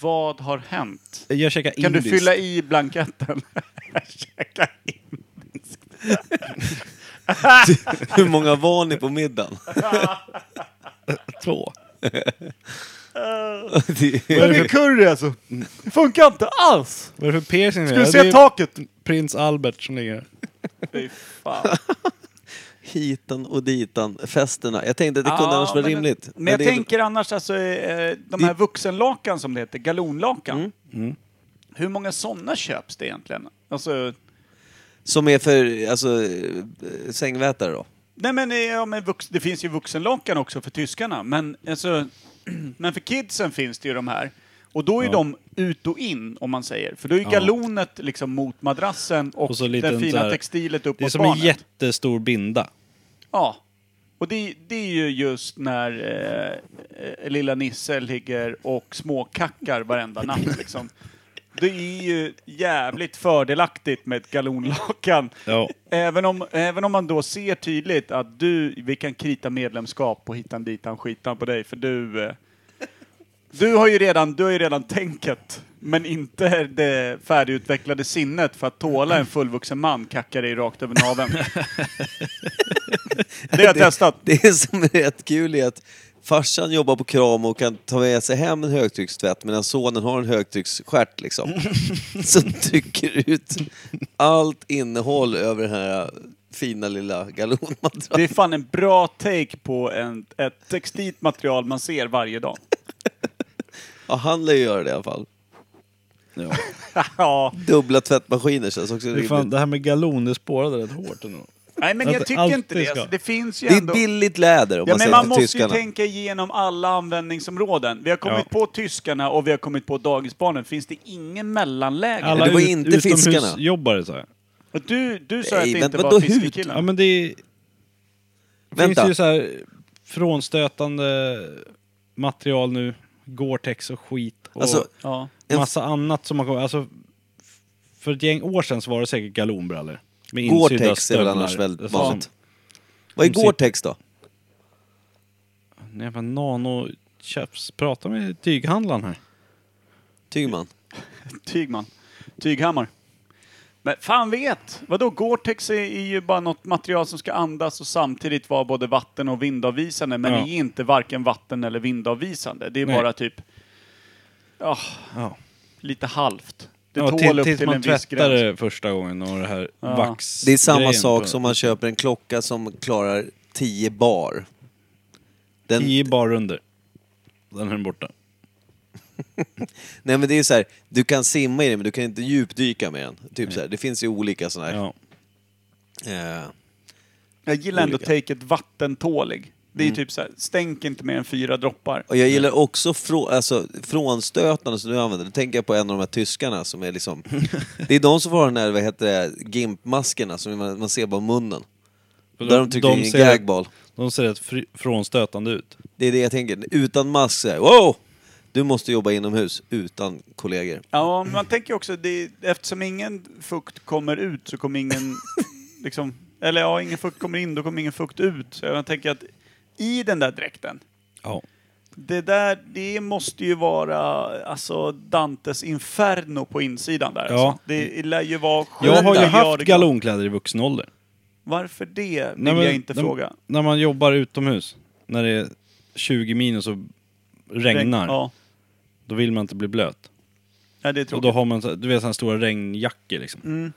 Speaker 1: Vad har hänt?
Speaker 3: Jag käkar
Speaker 1: Kan du
Speaker 3: indiskt.
Speaker 1: fylla i blanketten? Käka in.
Speaker 2: Hur många var ni på middagen?
Speaker 3: två?
Speaker 2: Det-
Speaker 1: Men det är curry alltså. Det funkar inte alls.
Speaker 3: Vad är det för piercing?
Speaker 1: Ska du
Speaker 3: Ja, det
Speaker 1: se
Speaker 3: är
Speaker 1: taket?
Speaker 3: Prins Albert som ligger där.
Speaker 1: Fy fan.
Speaker 2: Hitan och ditan, festerna. Jag tänkte att det kunde
Speaker 1: Ja,
Speaker 2: annars vara
Speaker 1: men-
Speaker 2: rimligt.
Speaker 1: Men jag
Speaker 2: det är inte-
Speaker 1: tänker annars alltså, eh, de här vuxenlakan som det heter, galonlakan.
Speaker 2: Mm.
Speaker 1: Hur många sådana köps det egentligen? Alltså,
Speaker 2: Som är för alltså, eh, sängvätare då?
Speaker 1: nej men, eh, ja, men vux, det finns ju vuxenlakan också för tyskarna, men, alltså, men för kidsen finns det ju de här. Och då är
Speaker 3: Ja.
Speaker 1: de ut och in, om man säger. För då är galonet liksom mot madrassen och,
Speaker 3: Och så lite
Speaker 1: det
Speaker 3: en så
Speaker 1: fina
Speaker 3: här-
Speaker 1: textilet upp
Speaker 3: Det är
Speaker 1: mot
Speaker 3: som en
Speaker 1: barnet.
Speaker 3: jättestor binda.
Speaker 1: Ja. Och det, det är ju just när eh, eh, lilla Nisse ligger och småkackar varenda natt liksom. Det är ju jävligt fördelaktigt med ett galonlakan.
Speaker 3: Ja.
Speaker 1: Även, om, även om man då ser tydligt att du, vi kan krita medlemskap och hitan ditan skitan på dig för du... Eh, du har ju redan, du har ju redan tänket, men inte det färdigutvecklade sinnet för att tåla en fullvuxen man kacka dig rakt över naveln. Det har jag testat.
Speaker 2: Det är som är rätt kul är att farsan jobbar på kram och kan ta med sig hem en högtryckstvätt medan sonen har en högtrycksstjärt liksom. Som trycker ut allt innehåll över den här fina lilla galonmadrassen.
Speaker 1: Det är fan en bra take på en, ett textilt material man ser varje dag.
Speaker 2: Ja, han lär ju göra det i alla fall.
Speaker 3: Ja.
Speaker 1: ja.
Speaker 2: Dubbla tvättmaskiner känns också
Speaker 3: Det,
Speaker 2: rimligt.
Speaker 3: fan, det här med galon, det spårade rätt hårt ändå.
Speaker 1: Nej men
Speaker 3: Att
Speaker 1: jag
Speaker 3: det
Speaker 1: tycker inte
Speaker 3: alltid
Speaker 1: det.
Speaker 3: ska.
Speaker 1: Alltså, det finns ju
Speaker 2: Det är
Speaker 1: ändå...
Speaker 2: billigt läder om
Speaker 1: Ja,
Speaker 2: man
Speaker 1: men
Speaker 2: säger
Speaker 1: man
Speaker 2: till
Speaker 1: måste
Speaker 2: tyskarna.
Speaker 1: ju tänka igenom alla användningsområden. Vi har kommit på tyskarna och vi har kommit på dagisbarnen. Finns det ingen mellanläge?
Speaker 2: Alla- Det var inte fiskarna.
Speaker 3: jobbare sa jag.
Speaker 1: Och Du, du sa
Speaker 2: Nej,
Speaker 1: att det
Speaker 2: men
Speaker 1: inte
Speaker 2: vadå
Speaker 1: var
Speaker 2: hut?
Speaker 1: fiskekillen.
Speaker 3: Ja men det är...
Speaker 2: Vänta.
Speaker 3: finns ju så här frånstötande material nu. Gore-Tex och skit. Och
Speaker 2: Alltså,
Speaker 1: Ja.
Speaker 2: en-
Speaker 3: massa annat som man kommer... Alltså, f- för ett gäng år sedan så var det säkert galonbrallor. Med insydda
Speaker 2: Gore-Tex är väl
Speaker 3: stövlar.
Speaker 2: annars väldigt
Speaker 3: Alltså,
Speaker 2: vanligt. Vad är
Speaker 3: som
Speaker 2: Gore-Tex då?
Speaker 3: som- Jävla nanoköps. Prata med tyghandlaren här.
Speaker 2: Tygman?
Speaker 1: Tygman. Tyghammar. Men fan vet! Vadå, Gore-Tex är, är ju bara något material som ska andas och samtidigt vara både vatten och vindavvisande. Men
Speaker 3: Ja.
Speaker 1: är inte varken vatten eller vindavvisande. Det är
Speaker 3: Nej.
Speaker 1: bara typ... Ja,
Speaker 3: Ja.
Speaker 1: lite halvt. Det
Speaker 3: Ja,
Speaker 1: tål
Speaker 3: till,
Speaker 1: upp
Speaker 3: tills
Speaker 1: till
Speaker 3: man
Speaker 1: en viss
Speaker 3: tvättar
Speaker 1: gräns.
Speaker 3: det första gången och det här
Speaker 1: Ja.
Speaker 3: vax
Speaker 2: Det är samma
Speaker 3: grejen
Speaker 2: sak
Speaker 3: på-
Speaker 2: som man köper en klocka som klarar 10 bar. Den,
Speaker 3: I bar under. Den är borta.
Speaker 2: Nej men det är så här, du kan simma i den men du kan inte djupdyka med den. Typ så här, det finns ju olika sådana här.
Speaker 3: Ja.
Speaker 2: Eh,
Speaker 1: Jag gillar ändå
Speaker 2: Olika.
Speaker 1: taket vattentålig. Det är
Speaker 3: Mm.
Speaker 1: typ så här, stänk inte mer än fyra droppar.
Speaker 2: och jag gillar också frå, alltså, frånstötarna som du använder. Nu tänker jag på en av de här tyskarna som är liksom... det är de som får den här, vad heter det, gimpmaskerna som man, man ser bara munnen. Där de trycker in en
Speaker 3: ser-
Speaker 2: gagball.
Speaker 3: De ser rätt fri- frånstötande ut.
Speaker 2: Det är det jag tänker. Utan mask så här, wow! Du måste jobba inomhus utan kollegor.
Speaker 1: Ja, men man tänker också, det, eftersom ingen fukt kommer ut så kommer ingen, liksom, eller ja, ingen fukt kommer in, då kommer ingen fukt ut. Så jag tänker att i den där dräkten,
Speaker 3: Ja.
Speaker 1: det där, det måste ju vara alltså Dantes inferno på insidan där.
Speaker 3: Ja.
Speaker 1: Alltså. Det lär ju vara sju
Speaker 3: Jag har ju
Speaker 1: miljarder
Speaker 3: haft
Speaker 1: grader.
Speaker 3: galonkläder i vuxen ålder.
Speaker 1: Varför det vill
Speaker 3: Nej, men
Speaker 1: jag inte
Speaker 3: när-
Speaker 1: fråga.
Speaker 3: När man jobbar utomhus, när det är 20 minus och regnar,
Speaker 1: Ja,
Speaker 3: då vill man inte bli blöt.
Speaker 1: ja det är
Speaker 3: Och
Speaker 1: tråkigt. Mm.
Speaker 3: då har man så- du vet, sådana stora regnjackor liksom.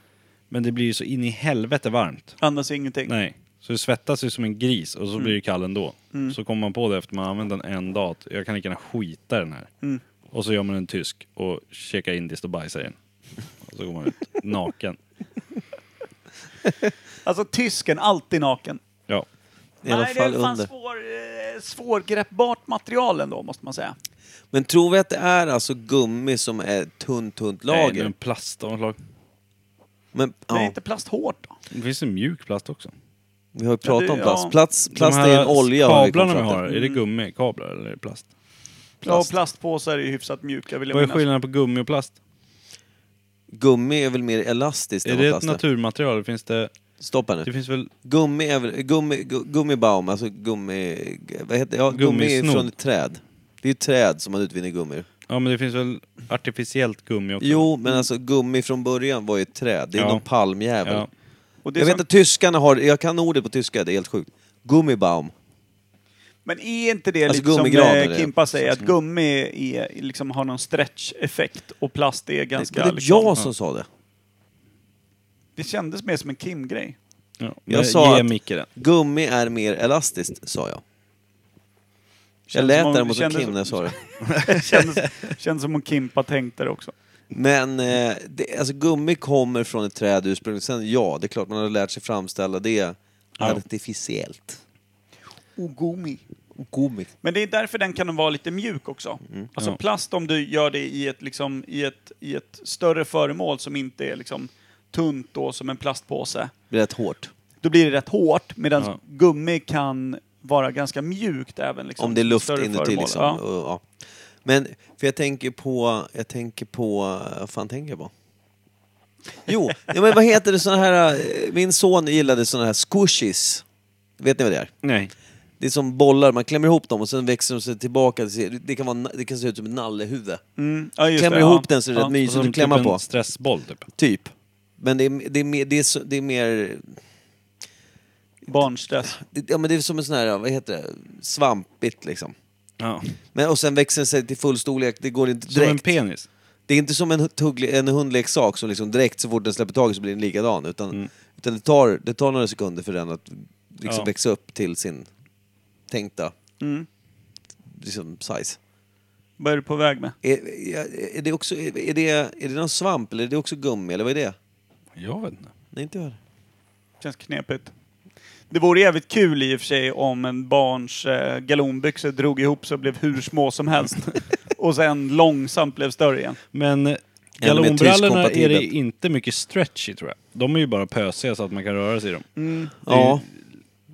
Speaker 3: Men det blir ju så in i helvete varmt.
Speaker 1: Annars ingenting.
Speaker 3: Nej. Så det svettas ju som en gris och så blir
Speaker 2: Mm.
Speaker 3: det kall ändå. Så kommer man på det efter man har använt den en dag, att jag kan
Speaker 2: Mm.
Speaker 3: lika gärna skita i den här. Och så gör man en tysk och käkar indiskt och bajsar i den. så går man ut naken.
Speaker 1: Alltså tysken, alltid naken.
Speaker 3: Ja.
Speaker 2: I alla
Speaker 1: Nej,
Speaker 2: fall
Speaker 1: det är fan
Speaker 2: under.
Speaker 1: Svår, eh, svårgreppbart material ändå, måste man säga.
Speaker 2: Men tror vi att det är alltså gummi som är tunt, tunt
Speaker 3: Nej,
Speaker 2: lager?
Speaker 3: det är en plastomslag.
Speaker 2: Men ja,
Speaker 1: Men är inte plast hårt då?
Speaker 3: Det finns en mjuk plast också.
Speaker 2: vi har ju pratat
Speaker 1: det-
Speaker 2: om plast.
Speaker 1: ja.
Speaker 2: Plast, plast
Speaker 3: De
Speaker 2: är
Speaker 3: här
Speaker 2: en olja har vi
Speaker 3: Kablarna
Speaker 2: kommit
Speaker 3: vi
Speaker 2: fram till. Mm.
Speaker 3: har, är det gummikablar eller är det plast?
Speaker 1: Ja, och plastpåsar är ju hyfsat mjuka, vill jag
Speaker 3: Vad är
Speaker 1: minnas.
Speaker 3: skillnaden på gummi och plast?
Speaker 2: Gummi är väl mer elastiskt
Speaker 3: Är
Speaker 2: än
Speaker 3: det typ-
Speaker 2: vad
Speaker 3: ett
Speaker 2: plast är?
Speaker 3: naturmaterial? Finns det...
Speaker 2: Stoppa nu.
Speaker 3: Det finns väl...
Speaker 2: Gummi är väl, gummi, gu- gummibaum, alltså gummi... Vad heter ja, gummi är
Speaker 3: Gummisnodd.
Speaker 2: från ett träd. Det är ju träd som man utvinner gummi ur.
Speaker 3: Ja, men det finns väl artificiellt gummi också?
Speaker 2: Jo, men alltså gummi från början var ju ett träd. Det är
Speaker 3: Ja.
Speaker 2: någon palmjävel.
Speaker 3: Ja.
Speaker 1: Och det
Speaker 2: Jag
Speaker 1: som-
Speaker 2: vet att tyskarna har, jag kan ordet på tyska, det är helt sjukt. Gummibaum.
Speaker 1: Men är inte det
Speaker 2: Alltså
Speaker 1: lite som
Speaker 2: gummigrader är Alltså,
Speaker 1: eh,
Speaker 2: det.
Speaker 1: Kimpa säger, att gummi är, liksom, har någon stretch-effekt och plast är
Speaker 2: Det,
Speaker 1: ganska...
Speaker 2: det är
Speaker 1: liksom,
Speaker 2: jag som sa det.
Speaker 1: det kändes mer som en Kim-grej.
Speaker 3: Ja.
Speaker 2: Jag
Speaker 3: Jag
Speaker 2: sa
Speaker 3: sa Ge
Speaker 2: att-
Speaker 3: Micke den.
Speaker 2: Gummi är mer elastiskt, sa jag. Jag
Speaker 1: Känns som
Speaker 2: lät
Speaker 1: om-
Speaker 2: däremot som
Speaker 1: kändes
Speaker 2: Kim
Speaker 1: som-
Speaker 2: när jag sa det.
Speaker 1: kändes, kändes som om Kimpa tänkte det också.
Speaker 2: Men eh, det, alltså, gummi kommer från ett träd ursprungligen. Sen ja, det är klart man har lärt sig framställa det artificiellt.
Speaker 1: Ogumi.
Speaker 2: Gummi.
Speaker 1: Men det är därför den kan vara lite mjuk också.
Speaker 2: Mm.
Speaker 1: Alltså
Speaker 3: Ja.
Speaker 1: plast om du gör det i ett, liksom, i, ett, i ett större föremål som inte är liksom, tunt då, som en plastpåse.
Speaker 2: Det är rätt hårt.
Speaker 1: Då blir det rätt hårt, medan
Speaker 3: Ja.
Speaker 1: gummi kan vara ganska mjukt även liksom,
Speaker 2: Om det är
Speaker 1: i
Speaker 2: luft
Speaker 1: större
Speaker 2: inuti
Speaker 1: föremål.
Speaker 2: liksom.
Speaker 1: Ja.
Speaker 2: Och, ja. Men, för jag tänker på, jag tänker på, eh, vad fan tänker jag på? Jo, ja, men vad heter det sådana här, eh, min son gillade sådana här squishies. Vet ni vad det är?
Speaker 3: Nej.
Speaker 2: Det är som bollar, man klämmer ihop dem och sen växer de sig tillbaka. Det ser- Det kan, vara, na- det kan se ut som ett nallehuvud.
Speaker 1: Mm. Ja, just
Speaker 2: klämmer
Speaker 1: det,
Speaker 2: ihop
Speaker 1: ja.
Speaker 2: den så är det
Speaker 1: Ja.
Speaker 2: rätt mysigt att klämma
Speaker 3: typ
Speaker 2: på.
Speaker 3: en stressboll typ.
Speaker 2: Typ. Men det är, det är, mer, det är, så, det är mer...
Speaker 1: Barnstress.
Speaker 2: Det, ja, men det är som en sån här, vad heter det, svampigt liksom.
Speaker 3: Ja.
Speaker 2: Men, och sen växer den sig till full storlek, det går inte
Speaker 3: Som en
Speaker 2: direkt.
Speaker 3: penis.
Speaker 2: det är inte som en, tuggli, en hundleksak som liksom direkt så fort den släpper taget så blir den likadan. Utan, utan det, tar, det tar några sekunder för den att liksom
Speaker 3: Mm. Ja.
Speaker 2: växa upp till sin tänkta liksom, size.
Speaker 1: Mm. Vad är du på väg med?
Speaker 2: Är, är, är det också, är, är det, är det någon svamp eller är det också gummi eller vad är det?
Speaker 3: Jag vet inte.
Speaker 2: Nej, inte jag. heller.
Speaker 1: Känns knepigt. Det vore jävligt kul i och för sig om en barns eh, galonbyxor drog ihop sig och blev hur små som helst. och sen långsamt blev större igen.
Speaker 3: Men eh,
Speaker 2: Eller med
Speaker 3: galonbrallorna är det
Speaker 2: tyskompatibelt.
Speaker 3: inte mycket stretch i tror jag. De är ju bara pösiga så att man kan röra sig i dem.
Speaker 1: Mm.
Speaker 2: Ja.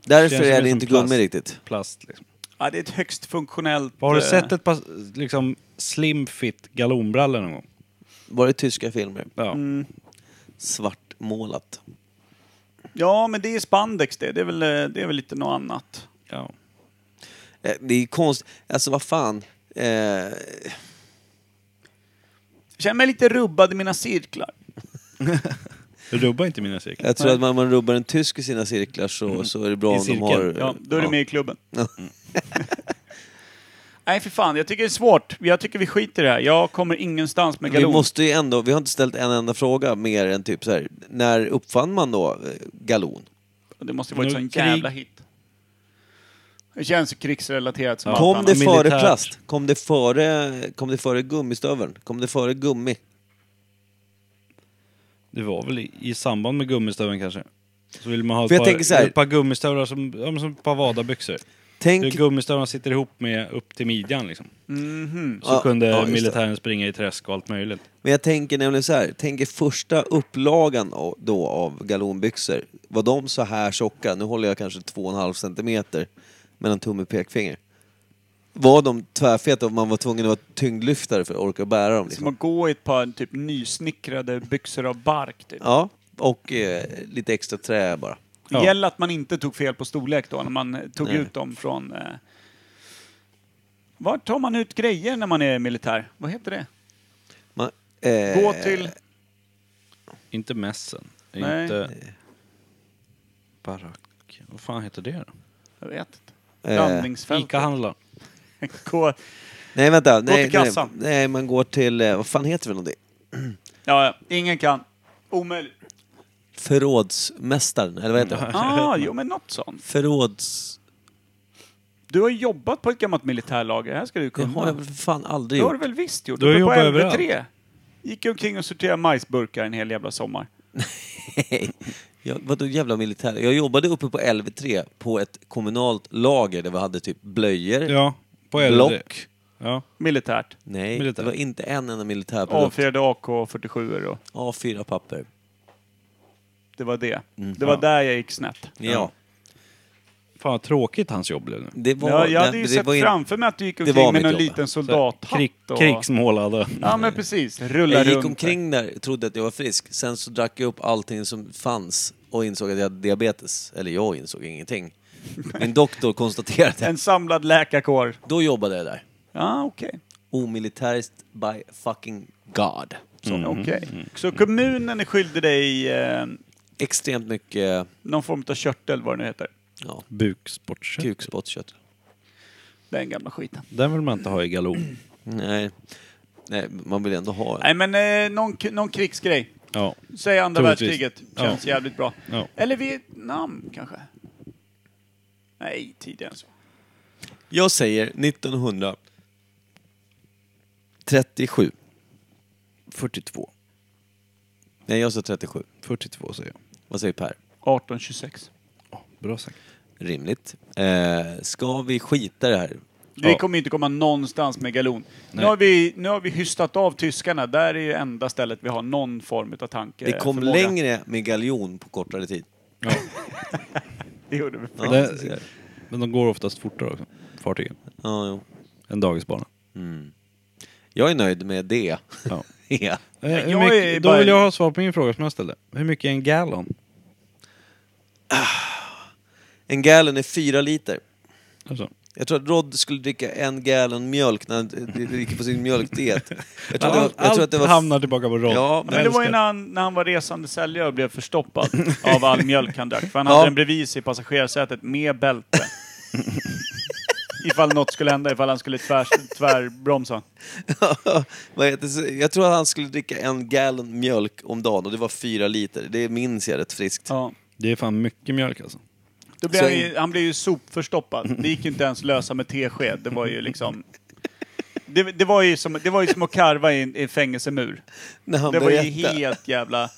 Speaker 2: Därför
Speaker 3: känns som
Speaker 2: är
Speaker 3: en
Speaker 2: det inte
Speaker 3: plast.
Speaker 2: gummi riktigt.
Speaker 3: Plast liksom.
Speaker 1: Ja, det är ett högst funktionellt...
Speaker 3: Har du
Speaker 1: eh,
Speaker 3: sett ett par liksom, slim fit galonbrallor någon gång?
Speaker 2: Var det tyska filmer?
Speaker 3: Ja.
Speaker 2: Svartmålat.
Speaker 1: Ja, men det är spandex det. Det är väl, eh, det är väl lite något annat.
Speaker 3: ja.
Speaker 2: Eh, Det är konst... Alltså vad fan. Eh,
Speaker 1: Jag känner mig lite rubbad i mina cirklar.
Speaker 3: Rubba inte mina cirklar.
Speaker 2: jag tror att man, man rubbar en tysk i sina cirklar så, så är det bra
Speaker 3: I
Speaker 2: om
Speaker 3: cirkeln,
Speaker 2: de har...
Speaker 1: Ja, då är du med i klubben. Mm.
Speaker 2: Ja.
Speaker 1: Nej, för fan. Jag tycker det är svårt. Jag tycker vi skiter i det här. Jag kommer ingenstans med
Speaker 2: Vi
Speaker 1: galon.
Speaker 2: måste ju ändå, vi har inte ställt en enda fråga mer än typ så här. när uppfann man då eh, galon?
Speaker 1: Det måste ju varit
Speaker 3: Nu,
Speaker 1: sån
Speaker 3: krig.
Speaker 1: jävla hit. Det känns ju krigsrelaterat som allt
Speaker 2: Kom
Speaker 1: annat.
Speaker 2: det före
Speaker 3: Militärt.
Speaker 2: plast? Kom det före, kom det före gummistöveln? Kom det före gummi?
Speaker 3: Det var väl i, i samband med gummistöveln kanske. Så vill man ha ett,
Speaker 2: För jag
Speaker 3: par,
Speaker 2: tänker så här-
Speaker 3: ett par gummistövlar som, ja, men som ett par vadabyxor. Hur
Speaker 2: Tänk...
Speaker 3: gummistövlarna sitter ihop med upp till midjan liksom. Så
Speaker 2: Mhm. Ja,
Speaker 3: kunde
Speaker 2: ja, just det.
Speaker 3: militären springa i träsk och allt möjligt.
Speaker 2: Men jag tänker nämligen så här, tänk er första upplagan av- då av galonbyxor. Var de så här tjocka? Nu håller jag kanske 2,5 centimeter mellan tumme och pekfinger. Var de tvärfeta och man var tvungen att vara tyngdlyftare för att orka bära dem?
Speaker 1: Som
Speaker 2: Liksom.
Speaker 1: att gå i ett par typ nysnickrade byxor av bark. Typ.
Speaker 2: Ja, och eh, lite extra trä bara.
Speaker 1: Det gäller att man inte tog fel på storlek då, när man eh, tog ut dem från... Eh... Var tar man ut grejer när man är militär? Vad heter det?
Speaker 2: Man, eh,
Speaker 1: Gå till...
Speaker 3: Inte mässen.
Speaker 1: Nej.
Speaker 3: Inte... Barack. Vad fan heter det då?
Speaker 1: Jag vet inte.
Speaker 2: Eh,
Speaker 1: Landningsfältet.
Speaker 3: Ica-handlaren.
Speaker 1: Gå...
Speaker 2: Nej vänta, nej,
Speaker 1: till
Speaker 2: nej,
Speaker 1: kassan.
Speaker 2: nej man går till, eh, vad fan heter det för någonting?
Speaker 1: Ja, ja, ingen kan. Omöjligt.
Speaker 2: Förrådsmästaren, eller vad heter det?
Speaker 1: Ah, jo men något sånt.
Speaker 2: Förråds...
Speaker 1: Du har jobbat på ett gammalt militärlager, det här ska du
Speaker 2: Det
Speaker 1: kunna.
Speaker 2: har jag väl för fan aldrig
Speaker 1: Det har
Speaker 2: gjort.
Speaker 1: du väl visst gjort?
Speaker 3: Du har
Speaker 1: Uppe på
Speaker 3: jobbat överallt.
Speaker 1: LV3. Gick omkring och sorterade majsburkar en hel jävla sommar.
Speaker 2: Nej. Jag, vadå jävla militär? Jag jobbade uppe på LV3 på ett kommunalt lager där vi hade typ blöjor,
Speaker 3: Ja, på äldre.
Speaker 2: block.
Speaker 3: Ja.
Speaker 1: Militärt.
Speaker 2: Nej,
Speaker 3: Militär.
Speaker 2: det var inte en enda militärprodukt.
Speaker 1: Avfyrade AK47 och
Speaker 2: A4 papper.
Speaker 1: det var det. Det var där jag gick snett.
Speaker 2: Mm. Ja.
Speaker 3: Fan vad tråkigt hans jobb blev nu.
Speaker 2: Det var...
Speaker 1: Ja, jag hade
Speaker 2: nej,
Speaker 1: ju
Speaker 2: det
Speaker 1: sett
Speaker 2: var in-
Speaker 1: framför mig att du gick
Speaker 2: var
Speaker 1: omkring med
Speaker 2: mitt
Speaker 1: någon
Speaker 2: jobb.
Speaker 1: liten
Speaker 3: Så här,
Speaker 1: soldathatt.
Speaker 3: krig-
Speaker 1: Och...
Speaker 3: Krigsmålade.
Speaker 1: Ja, men precis. Rulla
Speaker 2: Jag gick
Speaker 1: runt.
Speaker 2: omkring där, trodde att jag var frisk. Sen så drack jag upp allting som fanns och insåg att jag hade diabetes. Eller jag insåg ingenting. Min doktor konstaterade
Speaker 1: En samlad läkarkår.
Speaker 2: Då jobbade jag där.
Speaker 1: Ja, okej.
Speaker 2: Omilitäriskt by fucking God.
Speaker 1: Så,
Speaker 2: Mm-hmm.
Speaker 1: okej. Så kommunen är skyldig dig eh,
Speaker 2: Extremt mycket
Speaker 1: någon form av körtel, vad det nu heter.
Speaker 2: ja, Typ.
Speaker 3: Bukspottkött.
Speaker 2: kukspottkött.
Speaker 1: Den gamla skiten.
Speaker 3: Den vill man inte ha i galon.
Speaker 2: Nej. Nej, man vill ändå ha en.
Speaker 1: Nej, men eh, någon, k- någon krigsgrej.
Speaker 3: Ja.
Speaker 1: Säg andra
Speaker 3: Troligtvis.
Speaker 1: världskriget. Känns jävligt bra.
Speaker 3: Ja.
Speaker 1: Eller Vietnam, kanske? Nej, tidigare än så.
Speaker 2: Jag säger 1937. 42. Nej, jag sa 37.
Speaker 3: 42 säger jag.
Speaker 2: Vad säger Per?
Speaker 1: 1826.
Speaker 3: Bra sagt.
Speaker 2: Rimligt. Eh, ska vi skita i det här?
Speaker 1: Vi
Speaker 3: Ja.
Speaker 1: kommer inte komma någonstans med galon. Nu har, vi, nu har vi hystat av tyskarna. Där är ju enda stället vi har någon form av tanke.
Speaker 2: Det kom
Speaker 1: förmåga.
Speaker 2: längre med galjon på kortare tid.
Speaker 1: Det gjorde vi.
Speaker 2: Ja,
Speaker 3: Det-
Speaker 2: så ser jag.
Speaker 3: Men de går oftast fortare också, fartygen,
Speaker 2: ja, jo.
Speaker 3: än dagisbarnen.
Speaker 2: Jag är nöjd med det.
Speaker 3: Ja.
Speaker 2: ja.
Speaker 3: Eh,
Speaker 1: Jag
Speaker 3: hur mycket,
Speaker 1: är
Speaker 3: då
Speaker 1: bara-
Speaker 3: vill jag ha svar på min fråga som jag ställde. Hur mycket är en gallon?
Speaker 2: En gallon är fyra liter.
Speaker 3: Alltså.
Speaker 2: Jag tror att Rod skulle dricka en gallon mjölk när han d- dricker på sin mjölkdiet. Jag tror, att det var,
Speaker 3: Allt-
Speaker 2: jag tror att det var...
Speaker 3: allt hamnar tillbaka på rad.
Speaker 2: Ja,
Speaker 1: Men det var ju
Speaker 3: älskar.
Speaker 1: när han, när han var resande säljare och blev förstoppad av all mjölk han drack. För han
Speaker 2: Ja.
Speaker 1: hade en bredvid sig i passagerarsätet med bälte. ifall något skulle hända, ifall han skulle tvärs, tvärbromsa.
Speaker 2: Vad heter det? jag tror att han skulle dricka en gallon mjölk om dagen och det var fyra liter. Det minns jag rätt friskt.
Speaker 1: Ja.
Speaker 3: Det är fan mycket mjölk alltså.
Speaker 1: Då blev
Speaker 2: Så
Speaker 1: han, ju, han blev ju sopförstoppad. Det gick ju inte ens lösa med tesked. Det var ju liksom... Det, det, var, ju som, det var ju som att karva i en i en fängelsemur.
Speaker 2: När han
Speaker 1: Det var ju
Speaker 2: berättade.
Speaker 1: helt jävla...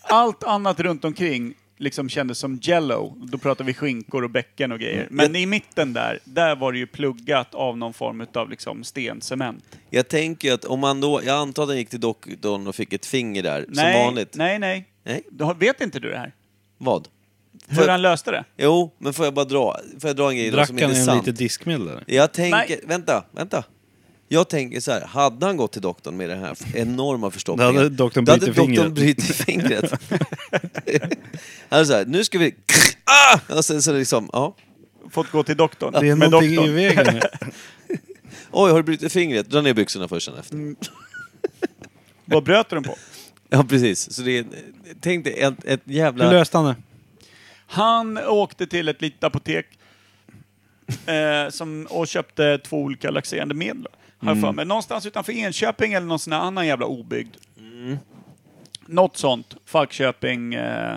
Speaker 1: Allt annat runt omkring liksom kändes som jello. Då pratar vi skinkor och bäcken och grejer. Men i mitten där, där var det ju pluggat av någon form av liksom stencement.
Speaker 2: Jag tänker ju att om han då... Jag antar att han gick till doktorn och fick ett finger där, som
Speaker 1: Nej,
Speaker 2: vanligt.
Speaker 1: nej, nej.
Speaker 2: Nej.
Speaker 1: Du har- vet inte du det här?
Speaker 2: Vad?
Speaker 1: Hur
Speaker 2: För-
Speaker 1: han löste det?
Speaker 2: Jo, men får jag bara dra, får jag dra en grej då
Speaker 3: Drack
Speaker 2: som
Speaker 3: han
Speaker 2: inte är
Speaker 3: en
Speaker 2: sant?
Speaker 3: lite diskmedel där?
Speaker 2: Jag tänker,
Speaker 1: Nej.
Speaker 2: vänta, vänta. Jag tänker så här, hade han gått till doktorn med den här enorma förstoppningen,
Speaker 3: Då hade doktorn
Speaker 2: då hade
Speaker 3: brutit
Speaker 2: doktorn
Speaker 3: fingret.
Speaker 2: brutit fingret. han är så här, nu ska vi... Ah! Och sen så liksom, ja.
Speaker 1: Fått gå till doktorn?
Speaker 3: Det är
Speaker 1: Med
Speaker 3: någonting
Speaker 1: doktorn?
Speaker 3: i vägen.
Speaker 2: Oj, har du brutit fingret? Dra ner byxorna först sen efter.
Speaker 1: Mm. Vad bröt du den på?
Speaker 2: Ja, precis. Så det är, tänk dig ett, ett
Speaker 3: Hur
Speaker 2: jävla...
Speaker 3: löste han det?
Speaker 1: Han åkte till ett litet apotek eh, som, och köpte två olika laxerande medel. Har jag för mig. Någonstans utanför Enköping eller någon sån här annan jävla obygd. Något sånt. Falköping. Eh,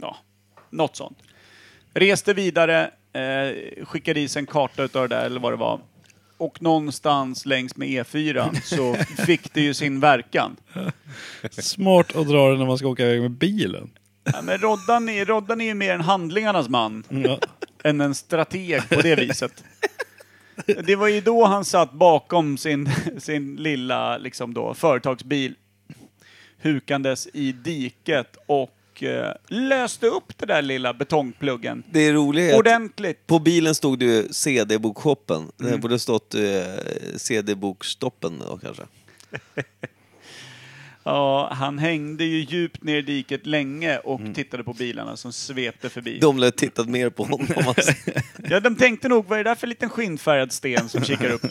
Speaker 1: ja, något sånt. Reste vidare, eh, skickade i sig en karta utav det där eller vad det var. Och någonstans längs med E4 så fick det ju sin verkan.
Speaker 3: Smart att dra det när man ska åka iväg med bilen.
Speaker 1: Ja, men Roddan är, Roddan är ju mer en handlingarnas man.
Speaker 3: Ja.
Speaker 1: än en strateg på det viset. Det var ju då han satt bakom sin, sin lilla liksom då, företagsbil hukandes i diket och eh, löste upp det där lilla betongpluggen
Speaker 2: Det är roligt.
Speaker 1: ordentligt.
Speaker 2: På bilen stod det ju CD-bokshoppen. Det
Speaker 1: Mm.
Speaker 2: borde stått eh, CD-bokstoppen då kanske.
Speaker 1: Ja, han hängde ju djupt ner i diket länge och tittade på bilarna som svepte förbi.
Speaker 2: De lär tittat mer på honom. Alltså.
Speaker 1: Ja, de tänkte nog, vad är det där för liten skinnfärgad sten som kikar upp?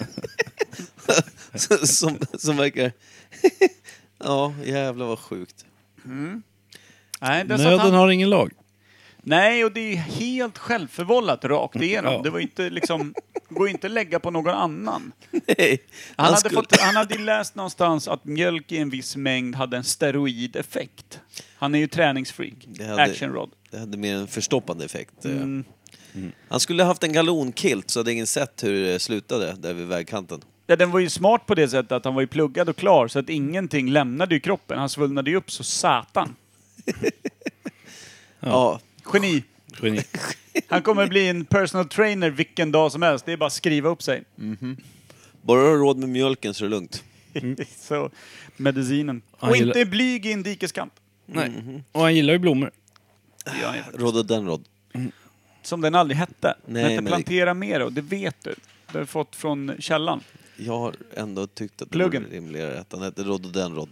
Speaker 2: som, som verkar... ja, jävlar vad sjukt.
Speaker 1: Nej, där satt han.
Speaker 3: Nöden har ingen lag.
Speaker 1: Nej, och det är helt självförvållat rakt igenom.
Speaker 3: Ja.
Speaker 1: Det var ju inte liksom, går ju inte att lägga på någon annan.
Speaker 2: Nej, han
Speaker 1: Han, hade,
Speaker 2: skulle-
Speaker 1: fått, han hade ju läst någonstans att mjölk i en viss mängd hade en steroideffekt. Han är ju träningsfreak.
Speaker 2: Det hade-
Speaker 1: Actionrod.
Speaker 2: Det hade mer en förstoppande effekt. eh.
Speaker 1: Mm.
Speaker 2: Han skulle haft en galonkilt så hade ingen sett hur det slutade där vid vägkanten.
Speaker 1: Ja, den var ju smart på det sättet att han var ju pluggad och klar så att ingenting lämnade ju kroppen. Han svullnade ju upp så satan.
Speaker 2: Ja.
Speaker 1: Geni.
Speaker 3: Geni.
Speaker 1: Han kommer bli en personal trainer vilken dag som helst. Det är bara att skriva upp sig.
Speaker 2: Bara du har råd med mjölken så är det lugnt.
Speaker 1: så, medicinen.
Speaker 3: Han
Speaker 1: Och
Speaker 3: gillar-
Speaker 1: inte blyg i en dikeskamp.
Speaker 3: Nej. Och han gillar ju blommor.
Speaker 1: Ja, ja.
Speaker 2: Råd och den råd.
Speaker 1: Som den aldrig hette.
Speaker 2: Nej,
Speaker 1: den hette
Speaker 2: men det-
Speaker 1: Plantera mer och det vet du. Det har vi fått från källan.
Speaker 2: Jag har ändå tyckt att det
Speaker 1: Pluggen.
Speaker 2: vore rimligare att han hette Råd och den råd.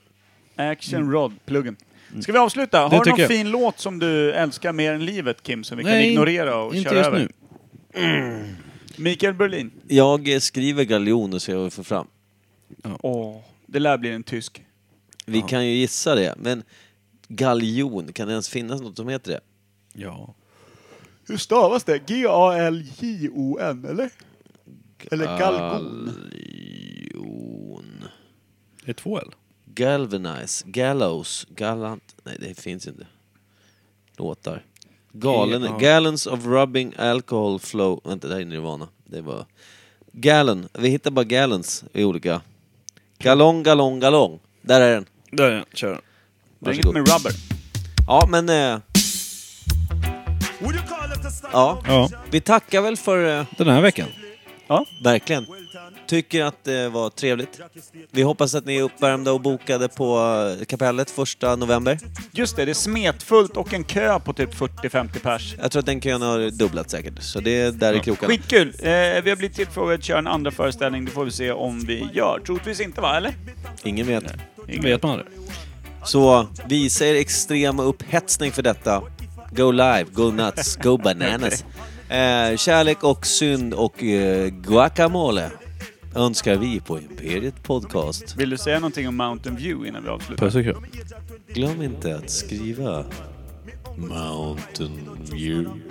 Speaker 1: Action Rod, pluggen. Ska vi avsluta? Har
Speaker 3: Mm. Det
Speaker 1: du någon
Speaker 3: tycker jag.
Speaker 1: fin låt som du älskar mer än livet, Kim, som vi kan ignorera och
Speaker 3: inte
Speaker 1: köra
Speaker 3: just
Speaker 1: över?
Speaker 3: nu.
Speaker 1: Mikael Berlin.
Speaker 2: Jag eh, skriver Galjon och ser vad vi får fram.
Speaker 1: Åh, det lär bli en tysk.
Speaker 2: Vi kan ju gissa det, men Galjon, kan det ens finnas något som heter det?
Speaker 3: Ja.
Speaker 1: Hur stavas det? G-A-L-J-O-N, eller? Eller
Speaker 3: Ah,
Speaker 1: galgon?
Speaker 2: Galjon.
Speaker 3: Det är två L.
Speaker 2: Galvanize, Gallows, Gallant... Nej, det finns inte. Låtar. Galen,
Speaker 3: Ja.
Speaker 2: Gallons of rubbing alcohol flow... Vänta, det här är Nirvana. Det var... Gallon. Vi hittar bara gallons i olika... Gallon, gallon, gallon. Där är den.
Speaker 3: Där är den. Kör.
Speaker 1: Det är inget
Speaker 2: Varsågod.
Speaker 1: med rubber.
Speaker 2: Ja, men... Eh, ja,
Speaker 3: Ja.
Speaker 2: vi tackar väl för... Eh,
Speaker 3: Den här veckan.
Speaker 2: Verkligen. Tycker att det var trevligt. Vi hoppas att ni är uppvärmda och bokade på eh, kapellet första november.
Speaker 1: Just det, det är smetfullt och en kö på typ 40-50 pers.
Speaker 2: Jag tror att den kön har dubblat säkert, så det är där i krokarna.
Speaker 1: Skitkul! Eh, vi har blivit tillfrågade att köra en andra föreställning, det får vi se om vi gör. Troligtvis inte va, eller?
Speaker 2: Ingen vet.
Speaker 3: Vet man det?
Speaker 2: Så vi säger extrem upphetsning för detta. Go live, go nuts, go bananas. Eh, kärlek och synd och eh, guacamole önskar vi på Imperiet Podcast.
Speaker 1: Vill du säga någonting om Mountain View innan vi avslutar?
Speaker 3: Puss och kram.
Speaker 2: Glöm inte att skriva Mountain View.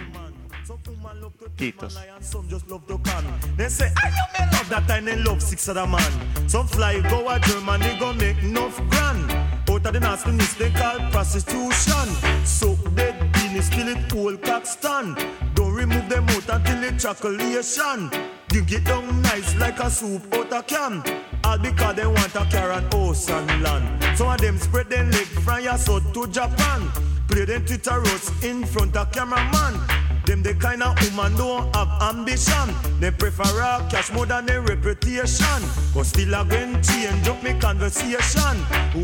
Speaker 1: Titos.
Speaker 7: lion, some just love to can. They say, I am in love that I in love six other man. Some fly go a Germany go make enough grand. Out of the nastiness they call prostitution. So dead beanies till it whole cock stand. Don't remove them out until it chocolation. Dig it down nice like a soup out a can. All because they want a carrot horse and land. Some of them spread their leg from your south to Japan. Play them Twitter roast in front of cameraman. Them the kind of woman don't have ambition. They prefer a cash more than a reputation. But still I again change up me conversation.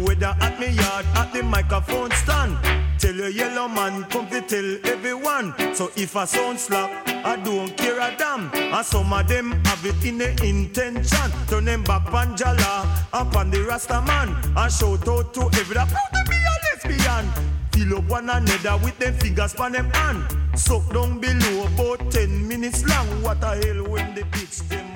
Speaker 7: Whether at me yard, at the microphone stand. Tell a yellow man, come to tell everyone. So if I sound slack, I don't care a damn. And some of them have it in the intention. Turn them back panjala, up on the rasta man. And shout out to every that proud to be a lesbian. Fill up one another with them fingers on them hand. Suck down below about 10 minutes long. What a hell when the bitch them